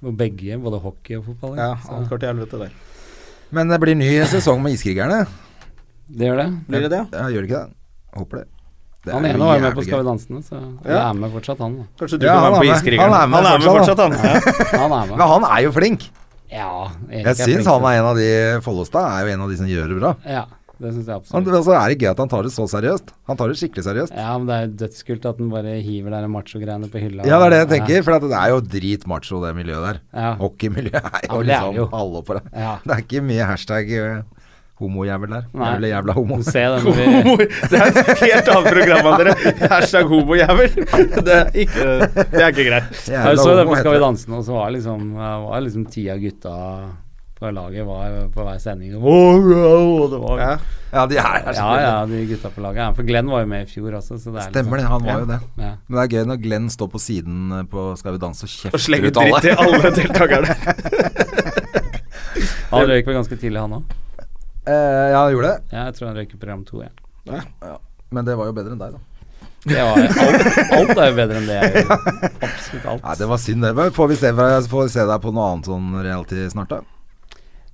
Speaker 4: og begge, både hockey og fotball.
Speaker 1: Ja,
Speaker 4: så-
Speaker 1: alt går til helvete der.
Speaker 2: Men det blir ny sesong med Iskrigerne.
Speaker 4: det gjør det.
Speaker 1: Blir det det?
Speaker 2: Ja, gjør det ikke det? Håper det. Det
Speaker 4: Han
Speaker 2: er
Speaker 4: ene
Speaker 2: jo
Speaker 4: var jo med
Speaker 2: jævlig
Speaker 4: på
Speaker 2: gøy.
Speaker 4: Skal vi danse, nå, så
Speaker 1: Ja.
Speaker 4: jeg er med fortsatt, han. da.
Speaker 1: Kanskje du
Speaker 2: Ja, han
Speaker 1: kan være
Speaker 2: er
Speaker 1: med på
Speaker 2: med.
Speaker 1: Iskrigeren.
Speaker 2: Han er med fortsatt,
Speaker 1: fortsatt, han. Ja.
Speaker 4: Han er med.
Speaker 2: Men han er jo flink.
Speaker 4: Ja,
Speaker 2: Jeg
Speaker 4: Erik flink altså.
Speaker 2: syns han er en av de Follestad er jo en av de som gjør det bra.
Speaker 4: til- Ja, det syns jeg
Speaker 2: Han,
Speaker 4: absolutt.
Speaker 2: altså, er det gøy at han tar det så seriøst? Han tar det skikkelig seriøst.
Speaker 4: Ja, men det er jo dødskult at han bare hiver de macho-greiene på hylla.
Speaker 2: Ja, det er det jeg tenker, for at det er jo dritmacho, det miljøet der.
Speaker 4: Ja.
Speaker 2: Hockeymiljøet er jo
Speaker 4: Ja, det er det jo.
Speaker 2: liksom alle på det.
Speaker 4: Ja.
Speaker 2: Det er ikke mye hashtag eh, homojævel der.
Speaker 4: Nei.
Speaker 2: Jævla jævla homo.
Speaker 4: Du ser det når vi
Speaker 1: Homo. Det er et helt annet program, dere. Hashtag homojævel. Det, er ikke- det er ikke greit.
Speaker 2: Jævla
Speaker 4: Jeg så det
Speaker 2: homo
Speaker 4: på Skal vi
Speaker 2: heter det.
Speaker 4: danse nå, så var liksom, var liksom ti av gutta på laget var på hver sending. og «Wow, wow», og det var,
Speaker 1: Ja.
Speaker 4: ja.
Speaker 2: Ja, de er her,
Speaker 4: ja,
Speaker 2: selvfølgelig.
Speaker 4: de gutta på laget. Ja, For Glenn var jo med i fjor også, så det er liksom-
Speaker 2: Stemmer det, han var jo det.
Speaker 4: Ja.
Speaker 2: Men det er gøy når Glenn står på siden eh, på Skal vi danse og
Speaker 1: Og
Speaker 2: kjefter
Speaker 1: slenge
Speaker 2: ut alle.
Speaker 1: dritt til alle deltakerne.
Speaker 4: Han røyk vel ganske tidlig, han òg.
Speaker 2: Eh, ja, han gjorde det.
Speaker 4: Ja, jeg tror han røyk i program to. Ja.
Speaker 2: Men det var jo bedre enn deg, da.
Speaker 4: Det var, alt, alt er jo bedre enn det jeg gjør. Absolutt
Speaker 2: Nei,
Speaker 4: alt.
Speaker 2: det var synd det. Men Får vi se, får vi se deg på noe annet sånn reality snart, da?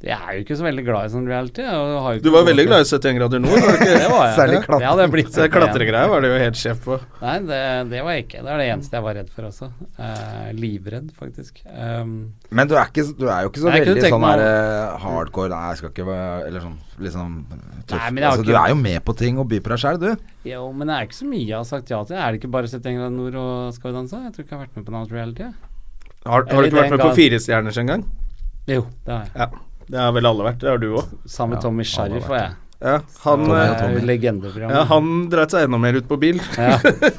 Speaker 4: Jeg er jo ikke så veldig glad i sånn reality. Jeg har jo ikke
Speaker 1: Du var veldig glad i 71 grader nord. var du ikke?
Speaker 4: det var jeg.
Speaker 2: Særlig
Speaker 4: Det hadde jeg blitt.
Speaker 1: Så Klatregreier var det jo helt sjef på.
Speaker 4: Nei, det, det var jeg ikke. Det er det eneste jeg var redd for også. Eh, livredd, faktisk. Um,
Speaker 2: Men du er, ikke, du er jo ikke så
Speaker 4: Nei, jeg kunne
Speaker 2: veldig
Speaker 4: tenkt
Speaker 2: sånn
Speaker 4: meg
Speaker 2: der eh, hardcore Nei, jeg skal ikke være Eller sånn liksom tøff.
Speaker 4: Nei, men jeg har
Speaker 2: altså,
Speaker 4: ikke-
Speaker 2: du er jo med på ting og byr på deg sjæl, du.
Speaker 4: jo, men det er ikke så mye jeg har sagt ja til. Er det ikke bare 71 grader nord og Skal vi danse? Jeg tror ikke jeg har vært med på noe annet reality. jeg.
Speaker 1: Har, har du ikke vært med på Firestjerners engang?
Speaker 4: Jo, det har jeg.
Speaker 1: Ja. Det har vel alle vært. Det har du òg.
Speaker 4: Sammen med Tommy Sharif og jeg.
Speaker 1: Ja, han,
Speaker 2: Tommy og
Speaker 1: eh,
Speaker 4: Det er jo
Speaker 2: Tommy.
Speaker 4: legendeprogram.
Speaker 1: ja, han dreit seg enda mer ut på bil.
Speaker 4: Ja. Det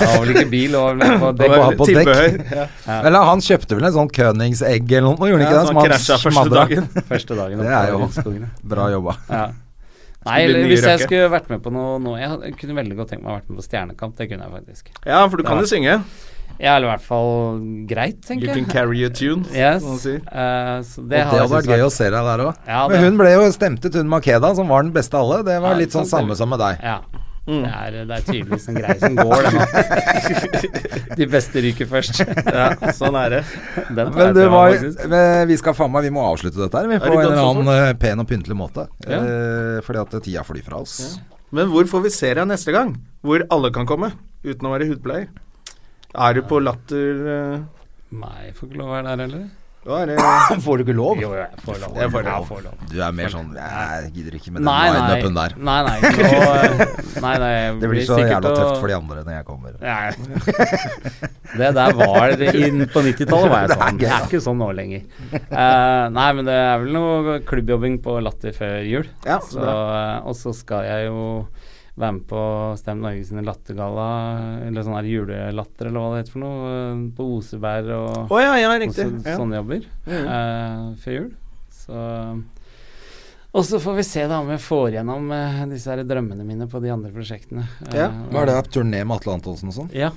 Speaker 4: var vel ikke bil, det var vel på
Speaker 1: Det
Speaker 4: dekk.
Speaker 1: var
Speaker 2: på dekk.
Speaker 1: tilbehør. Ja.
Speaker 2: Eller han kjøpte vel en sånn Køningsegg eller noe, gjorde han
Speaker 1: Ja, så han
Speaker 2: ikke det?
Speaker 1: krasja
Speaker 2: Som
Speaker 1: første
Speaker 2: smadra.
Speaker 1: dagen.
Speaker 4: Første sånn dagen
Speaker 2: Det
Speaker 4: oppe
Speaker 2: er
Speaker 4: i
Speaker 2: jo-
Speaker 4: Rudskogen, ja.
Speaker 2: Bra jobba.
Speaker 4: Ja. Nei,
Speaker 1: blir
Speaker 4: eller
Speaker 1: mye
Speaker 4: hvis jeg
Speaker 1: røkke.
Speaker 4: skulle vært med på noe nå Jeg hadde- kunne veldig godt tenkt meg å vært med på Stjernekamp. Det kunne jeg faktisk.
Speaker 1: ja, for du kan jo synge.
Speaker 4: Ja, eller i hvert fall greit,
Speaker 1: You
Speaker 4: tenker jeg.
Speaker 1: can carry a tune.
Speaker 4: Yes.
Speaker 1: som man sier.
Speaker 4: eh, så
Speaker 2: Det
Speaker 4: det
Speaker 2: og det hadde
Speaker 4: hadde
Speaker 2: vært gøy å se deg der òg.
Speaker 4: Ja, det-
Speaker 2: Men hun ble jo stemt ut, hun Makeda, som var den beste av alle. Det
Speaker 4: Ja,
Speaker 2: var litt sånn
Speaker 4: sant,
Speaker 2: samme
Speaker 4: det-
Speaker 2: som med deg.
Speaker 4: Ja. Det, er, det er tydeligvis en greie som går, det nå. De beste ryker først.
Speaker 1: Ja, sånn er det.
Speaker 4: Den tar
Speaker 2: Men
Speaker 4: jeg
Speaker 2: du
Speaker 4: til
Speaker 2: var,
Speaker 4: meg, faktisk.
Speaker 2: men vi skal faen meg Vi må avslutte dette her vi,
Speaker 1: det
Speaker 2: på en
Speaker 1: gått
Speaker 2: eller
Speaker 1: så
Speaker 2: annen eh, pen og pyntelig måte.
Speaker 4: Ja.
Speaker 2: Eh, fordi at tida flyr fra oss.
Speaker 1: Men hvor får vi se deg neste gang? Hvor alle kan komme, uten å være hudpleier? Er du på Latter eh,
Speaker 4: Nei, jeg får ikke lov å være der heller.
Speaker 5: Da er det
Speaker 1: eh,
Speaker 2: Får du ikke lov?
Speaker 4: Jo, jeg får lov.
Speaker 5: Jeg får lov.
Speaker 4: får lov.
Speaker 2: Du er mer sånn Jeg gidder ikke med den
Speaker 4: Nei, nei.
Speaker 2: lineupen der.
Speaker 4: Nei, nei. Nå, nei, nei jeg
Speaker 2: Det blir så
Speaker 4: sikkert
Speaker 2: jævla
Speaker 4: å-
Speaker 2: tøft for de andre når jeg kommer.
Speaker 4: Nei. Det der var det inn på 90-tallet, var jeg sånn. Det er ikke sånn nå lenger. Eh, nei, men det er vel noe klubbjobbing på Latter før jul.
Speaker 5: Ja, så
Speaker 4: så, eh, og så skal jeg jo være med på Stem Norge sine lattergalla, eller sånn her julelatter, eller hva det heter for noe, eh, på Oseberg og
Speaker 1: Å ja, ja,
Speaker 4: og
Speaker 1: riktig.
Speaker 4: så-
Speaker 1: Ja.
Speaker 4: sånne jobber eh, før jul. Så Og så får vi se da om jeg får gjennom eh, disse her drømmene mine på de andre prosjektene.
Speaker 5: Ja,
Speaker 4: Eh,
Speaker 2: Hva er det? Turné med Atle Antonsen og sånn?
Speaker 4: Ja.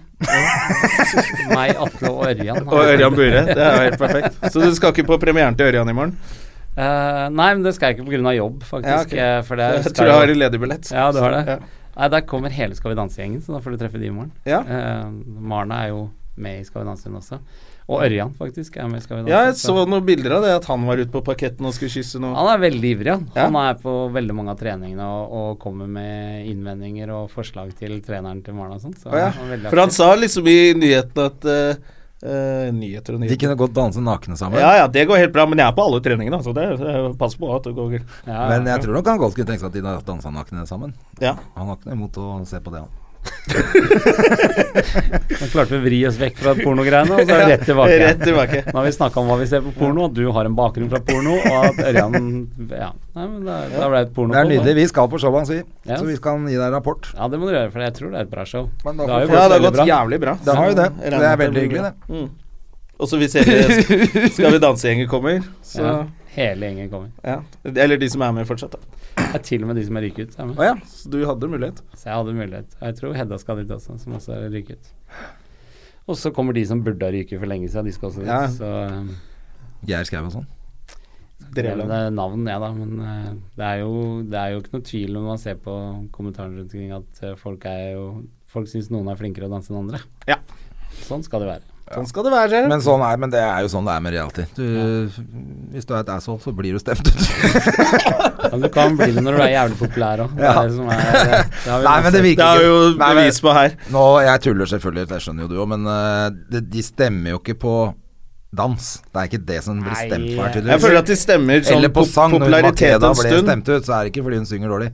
Speaker 4: Meg, Atle og Ørjan.
Speaker 1: Og Ørjan Bure. Det er jo helt perfekt. Så du skal ikke på premieren til Ørjan i morgen?
Speaker 4: Eh, nei, men det skal jeg ikke pga. jobb, faktisk.
Speaker 1: Ja, ok.
Speaker 4: eh, For det
Speaker 1: Jeg
Speaker 4: skal
Speaker 1: tror jeg
Speaker 4: jo-
Speaker 1: har en ledig billett.
Speaker 4: Ja, du har det.
Speaker 1: Ja.
Speaker 4: Nei, der kommer hele Skal vi danse-gjengen, så da får du treffe de i morgen.
Speaker 1: Ja.
Speaker 4: Eh, Marna er jo med i Skal vi danse hun også. Og Ørjan, faktisk, er med i Skal vi danse.
Speaker 1: Ja, jeg så noen bilder av det, at han var ute på parketten og skulle kysse noe.
Speaker 4: Han er veldig ivrig, han.
Speaker 1: Ja.
Speaker 4: Han er på veldig mange av treningene og, og kommer med innvendinger og forslag til treneren til Marna og sånn. Så
Speaker 1: Å, ja.
Speaker 4: han er veldig
Speaker 1: For han
Speaker 4: aktiv.
Speaker 1: sa liksom i nyhetene at eh, eh, Nyheter og
Speaker 2: De
Speaker 1: nyheter.
Speaker 2: kunne godt danse nakne sammen.
Speaker 1: Ja ja, det går helt bra, men jeg er på alle treningene, så det, det- pass på at det går galt.
Speaker 4: Ja,
Speaker 2: Men jeg tror nok han godt kunne tenke seg at de dansa nakne sammen.
Speaker 1: Ja.
Speaker 2: Han har ikke noe imot å se på det, han.
Speaker 4: Nå klarte vi å vri oss vekk fra pornogreiene, og så er vi rett tilbake.
Speaker 1: Ja, rett tilbake.
Speaker 4: Nå har vi snakka om hva vi ser på porno, at du har en bakgrunn fra porno, og at Ørjan Ja. Nei, men da, da ble det et porno.
Speaker 2: Det er nydelig. Vi skal på showet hans, vi.
Speaker 4: Ja.
Speaker 2: Så vi kan gi deg rapport.
Speaker 4: Ja, det må du gjøre, for jeg tror det er et bra show.
Speaker 2: Men da
Speaker 4: Det
Speaker 2: får
Speaker 4: har jo
Speaker 2: vi-
Speaker 1: Ja,
Speaker 4: gått
Speaker 1: det har
Speaker 4: veldig
Speaker 1: gått
Speaker 4: bra.
Speaker 1: jævlig bra.
Speaker 2: Det har jo det.
Speaker 1: Jeg regner
Speaker 2: Det er
Speaker 1: med at
Speaker 2: veldig
Speaker 1: blir
Speaker 2: hyggelig,
Speaker 1: bra.
Speaker 2: det.
Speaker 1: Mm. Og så vi ser det, Skal vi danse-gjengen kommer, så
Speaker 4: Ja, hele gjengen kommer.
Speaker 1: ja. Eller de som er med fortsatt, da.
Speaker 4: Det er til og med de som er ryket ut. er med.
Speaker 1: Å ja, så du hadde mulighet.
Speaker 4: Så jeg hadde mulighet. Og jeg tror Hedda skal dit også, som også er ryket. Og så kommer de som burde ha ryket for lenge siden, de skal også dit.
Speaker 1: Ja.
Speaker 4: Så um,
Speaker 2: Geir Skau og sånn.
Speaker 4: det
Speaker 1: Drevland.
Speaker 4: er navn, jeg, da. Men eh, det er, jo, det er jo ikke noe tvil når man ser på kommentarene rundt omkring at eh, folk er jo Folk syns noen er flinkere å danse enn andre.
Speaker 1: Ja.
Speaker 4: Sånn skal det være.
Speaker 1: Sånn skal det være.
Speaker 2: Men, sånn er, men det er jo sånn det er med reality. Du, Hvis du er et asshole, så blir du stemt ut.
Speaker 4: Men du kan bli det når du er jævlig populær òg.
Speaker 2: Ja. Nei, men det
Speaker 1: Det
Speaker 2: virker
Speaker 1: er jo
Speaker 2: ikke. Nei, men-
Speaker 1: bevis på her.
Speaker 2: Nå, jeg tuller selvfølgelig, det skjønner jo du òg, men eh, de, de stemmer jo ikke på dans. Det er ikke det som blir
Speaker 4: Nei,
Speaker 2: stemt på her,
Speaker 1: Jeg
Speaker 2: tydeligvis.
Speaker 1: føler at de stemmer sånn
Speaker 2: Eller på sang. Når
Speaker 1: popularitet
Speaker 2: Makeda
Speaker 1: en
Speaker 2: ble
Speaker 1: stund.
Speaker 2: stemt ut, så er det ikke fordi hun synger dårlig.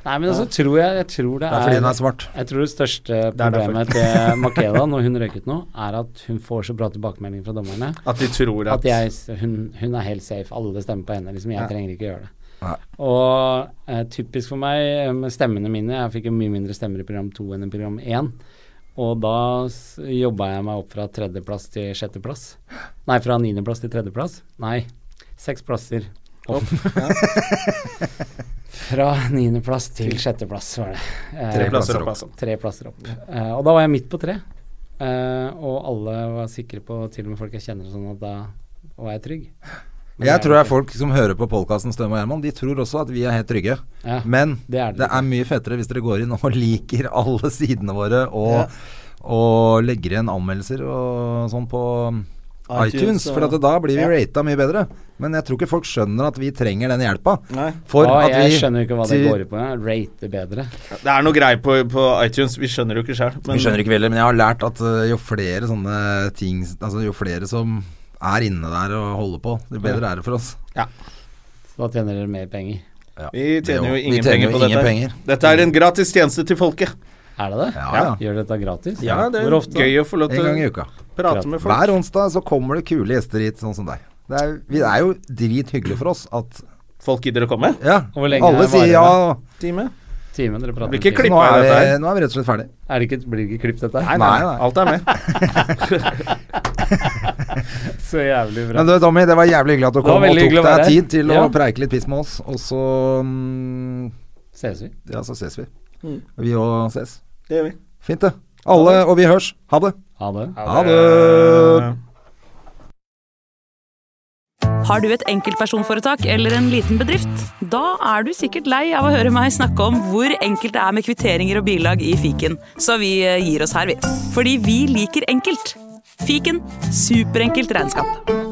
Speaker 4: Nei, men altså, tror jeg, jeg tror det
Speaker 2: Det er fordi hun er svart.
Speaker 4: Jeg tror det største
Speaker 1: er derfor.
Speaker 4: problemet til Makeda når hun røyket nå, er at hun får så bra tilbakemelding fra dommerne
Speaker 1: At de tror
Speaker 4: at
Speaker 1: at
Speaker 4: jeg, hun, hun er helt safe. Alle stemmer på henne. Liksom, jeg trenger ikke gjøre det.
Speaker 2: Nei.
Speaker 4: Og eh, typisk for meg eh, med stemmene mine Jeg fikk jo mye mindre stemmer i program to enn i program én. Og da s- jobba jeg meg opp fra tredjeplass til sjetteplass. Nei, fra niendeplass til tredjeplass. Nei, seks plasser opp. fra niendeplass til sjetteplass, var det. Eh,
Speaker 1: Tre plasser opp, altså.
Speaker 4: tre plasser opp. Eh, og da var jeg midt på tre. Eh, og alle var sikre på, til og med folk jeg kjenner og sånn, at da var jeg trygg. Men
Speaker 2: Jeg tror det er
Speaker 4: ikke.
Speaker 2: folk som hører på podkasten Støm og Gjerman, de tror også at vi er helt trygge.
Speaker 4: Ja,
Speaker 2: Men
Speaker 4: det er det.
Speaker 2: det er mye fetere hvis dere går inn og liker alle sidene våre og, og legger igjen anmeldelser og sånn på
Speaker 1: iTunes
Speaker 2: iTunes,
Speaker 1: og-
Speaker 2: for at da blir vi
Speaker 1: Ja.
Speaker 2: rata mye bedre. Men jeg tror ikke folk skjønner at vi trenger den hjelpa.
Speaker 1: Nei.
Speaker 2: For
Speaker 4: Å,
Speaker 2: at
Speaker 4: jeg
Speaker 2: vi
Speaker 4: skjønner ikke hva det
Speaker 2: til-
Speaker 4: går ut på. jeg. Rate bedre.
Speaker 1: Det er noe greier på, på iTunes, vi skjønner jo ikke sjøl.
Speaker 2: Vi skjønner ikke heller, men jeg har lært at øh, jo flere sånne ting Altså jo flere som er inne der og holder på, jo bedre er det for oss.
Speaker 4: Så da tjener dere mer penger.
Speaker 1: Vi tjener jo
Speaker 2: Vi
Speaker 1: ingen
Speaker 2: tjener
Speaker 1: penger
Speaker 2: jo
Speaker 1: på
Speaker 2: ingen
Speaker 1: dette.
Speaker 2: penger.
Speaker 1: Dette er en gratis tjeneste til folket.
Speaker 4: Er det det?
Speaker 2: Ja, ja.
Speaker 4: Gjør dere dette gratis?
Speaker 1: Ja, det
Speaker 4: Hvor
Speaker 1: er
Speaker 4: ofte?
Speaker 1: gøy å få lov
Speaker 2: En
Speaker 1: til
Speaker 2: gang i
Speaker 1: å
Speaker 2: uka.
Speaker 1: prate med folk.
Speaker 2: Hver onsdag så kommer det kule gjester hit, sånn som deg. Det er, vi- det er jo drithyggelig for oss at
Speaker 1: Folk gidder å komme.
Speaker 2: Ja,
Speaker 4: Hvor lenge
Speaker 2: alle
Speaker 4: er
Speaker 2: sier ja.
Speaker 4: varer
Speaker 1: Time.
Speaker 4: Timen dere prater
Speaker 1: Blir ikke
Speaker 4: om
Speaker 1: klipp-
Speaker 4: timen.
Speaker 2: Nå er,
Speaker 1: Klippa i dette her.
Speaker 2: vi, nå er vi rett og slett ferdig.
Speaker 4: Er det ikke, blir det ikke klippet dette her?
Speaker 1: Nei, nei,
Speaker 2: Nei, nei.
Speaker 1: alt er med.
Speaker 4: Så jævlig bra.
Speaker 2: Men du, Tommy, det var jævlig hyggelig at du
Speaker 4: Det var
Speaker 2: kom og
Speaker 4: veldig
Speaker 2: tok
Speaker 4: hyggelig å være
Speaker 2: deg
Speaker 4: her.
Speaker 2: tid til
Speaker 4: Ja.
Speaker 2: å preike litt piss med oss, og så mm,
Speaker 4: Ses vi.
Speaker 2: Ja, så ses vi.
Speaker 4: Mm.
Speaker 2: Vi òg ses.
Speaker 1: Det gjør vi.
Speaker 2: Fint, det. Alle, og vi hørs. Ha det.
Speaker 4: Ha det.
Speaker 2: Ha det.
Speaker 6: Har du et enkeltpersonforetak eller en liten bedrift? Da er du sikkert lei av å høre meg snakke om hvor enkelt det er med kvitteringer og bilag i fiken, så vi eh, gir oss her, vi. Fordi vi liker enkelt. Fiken superenkelt regnskap.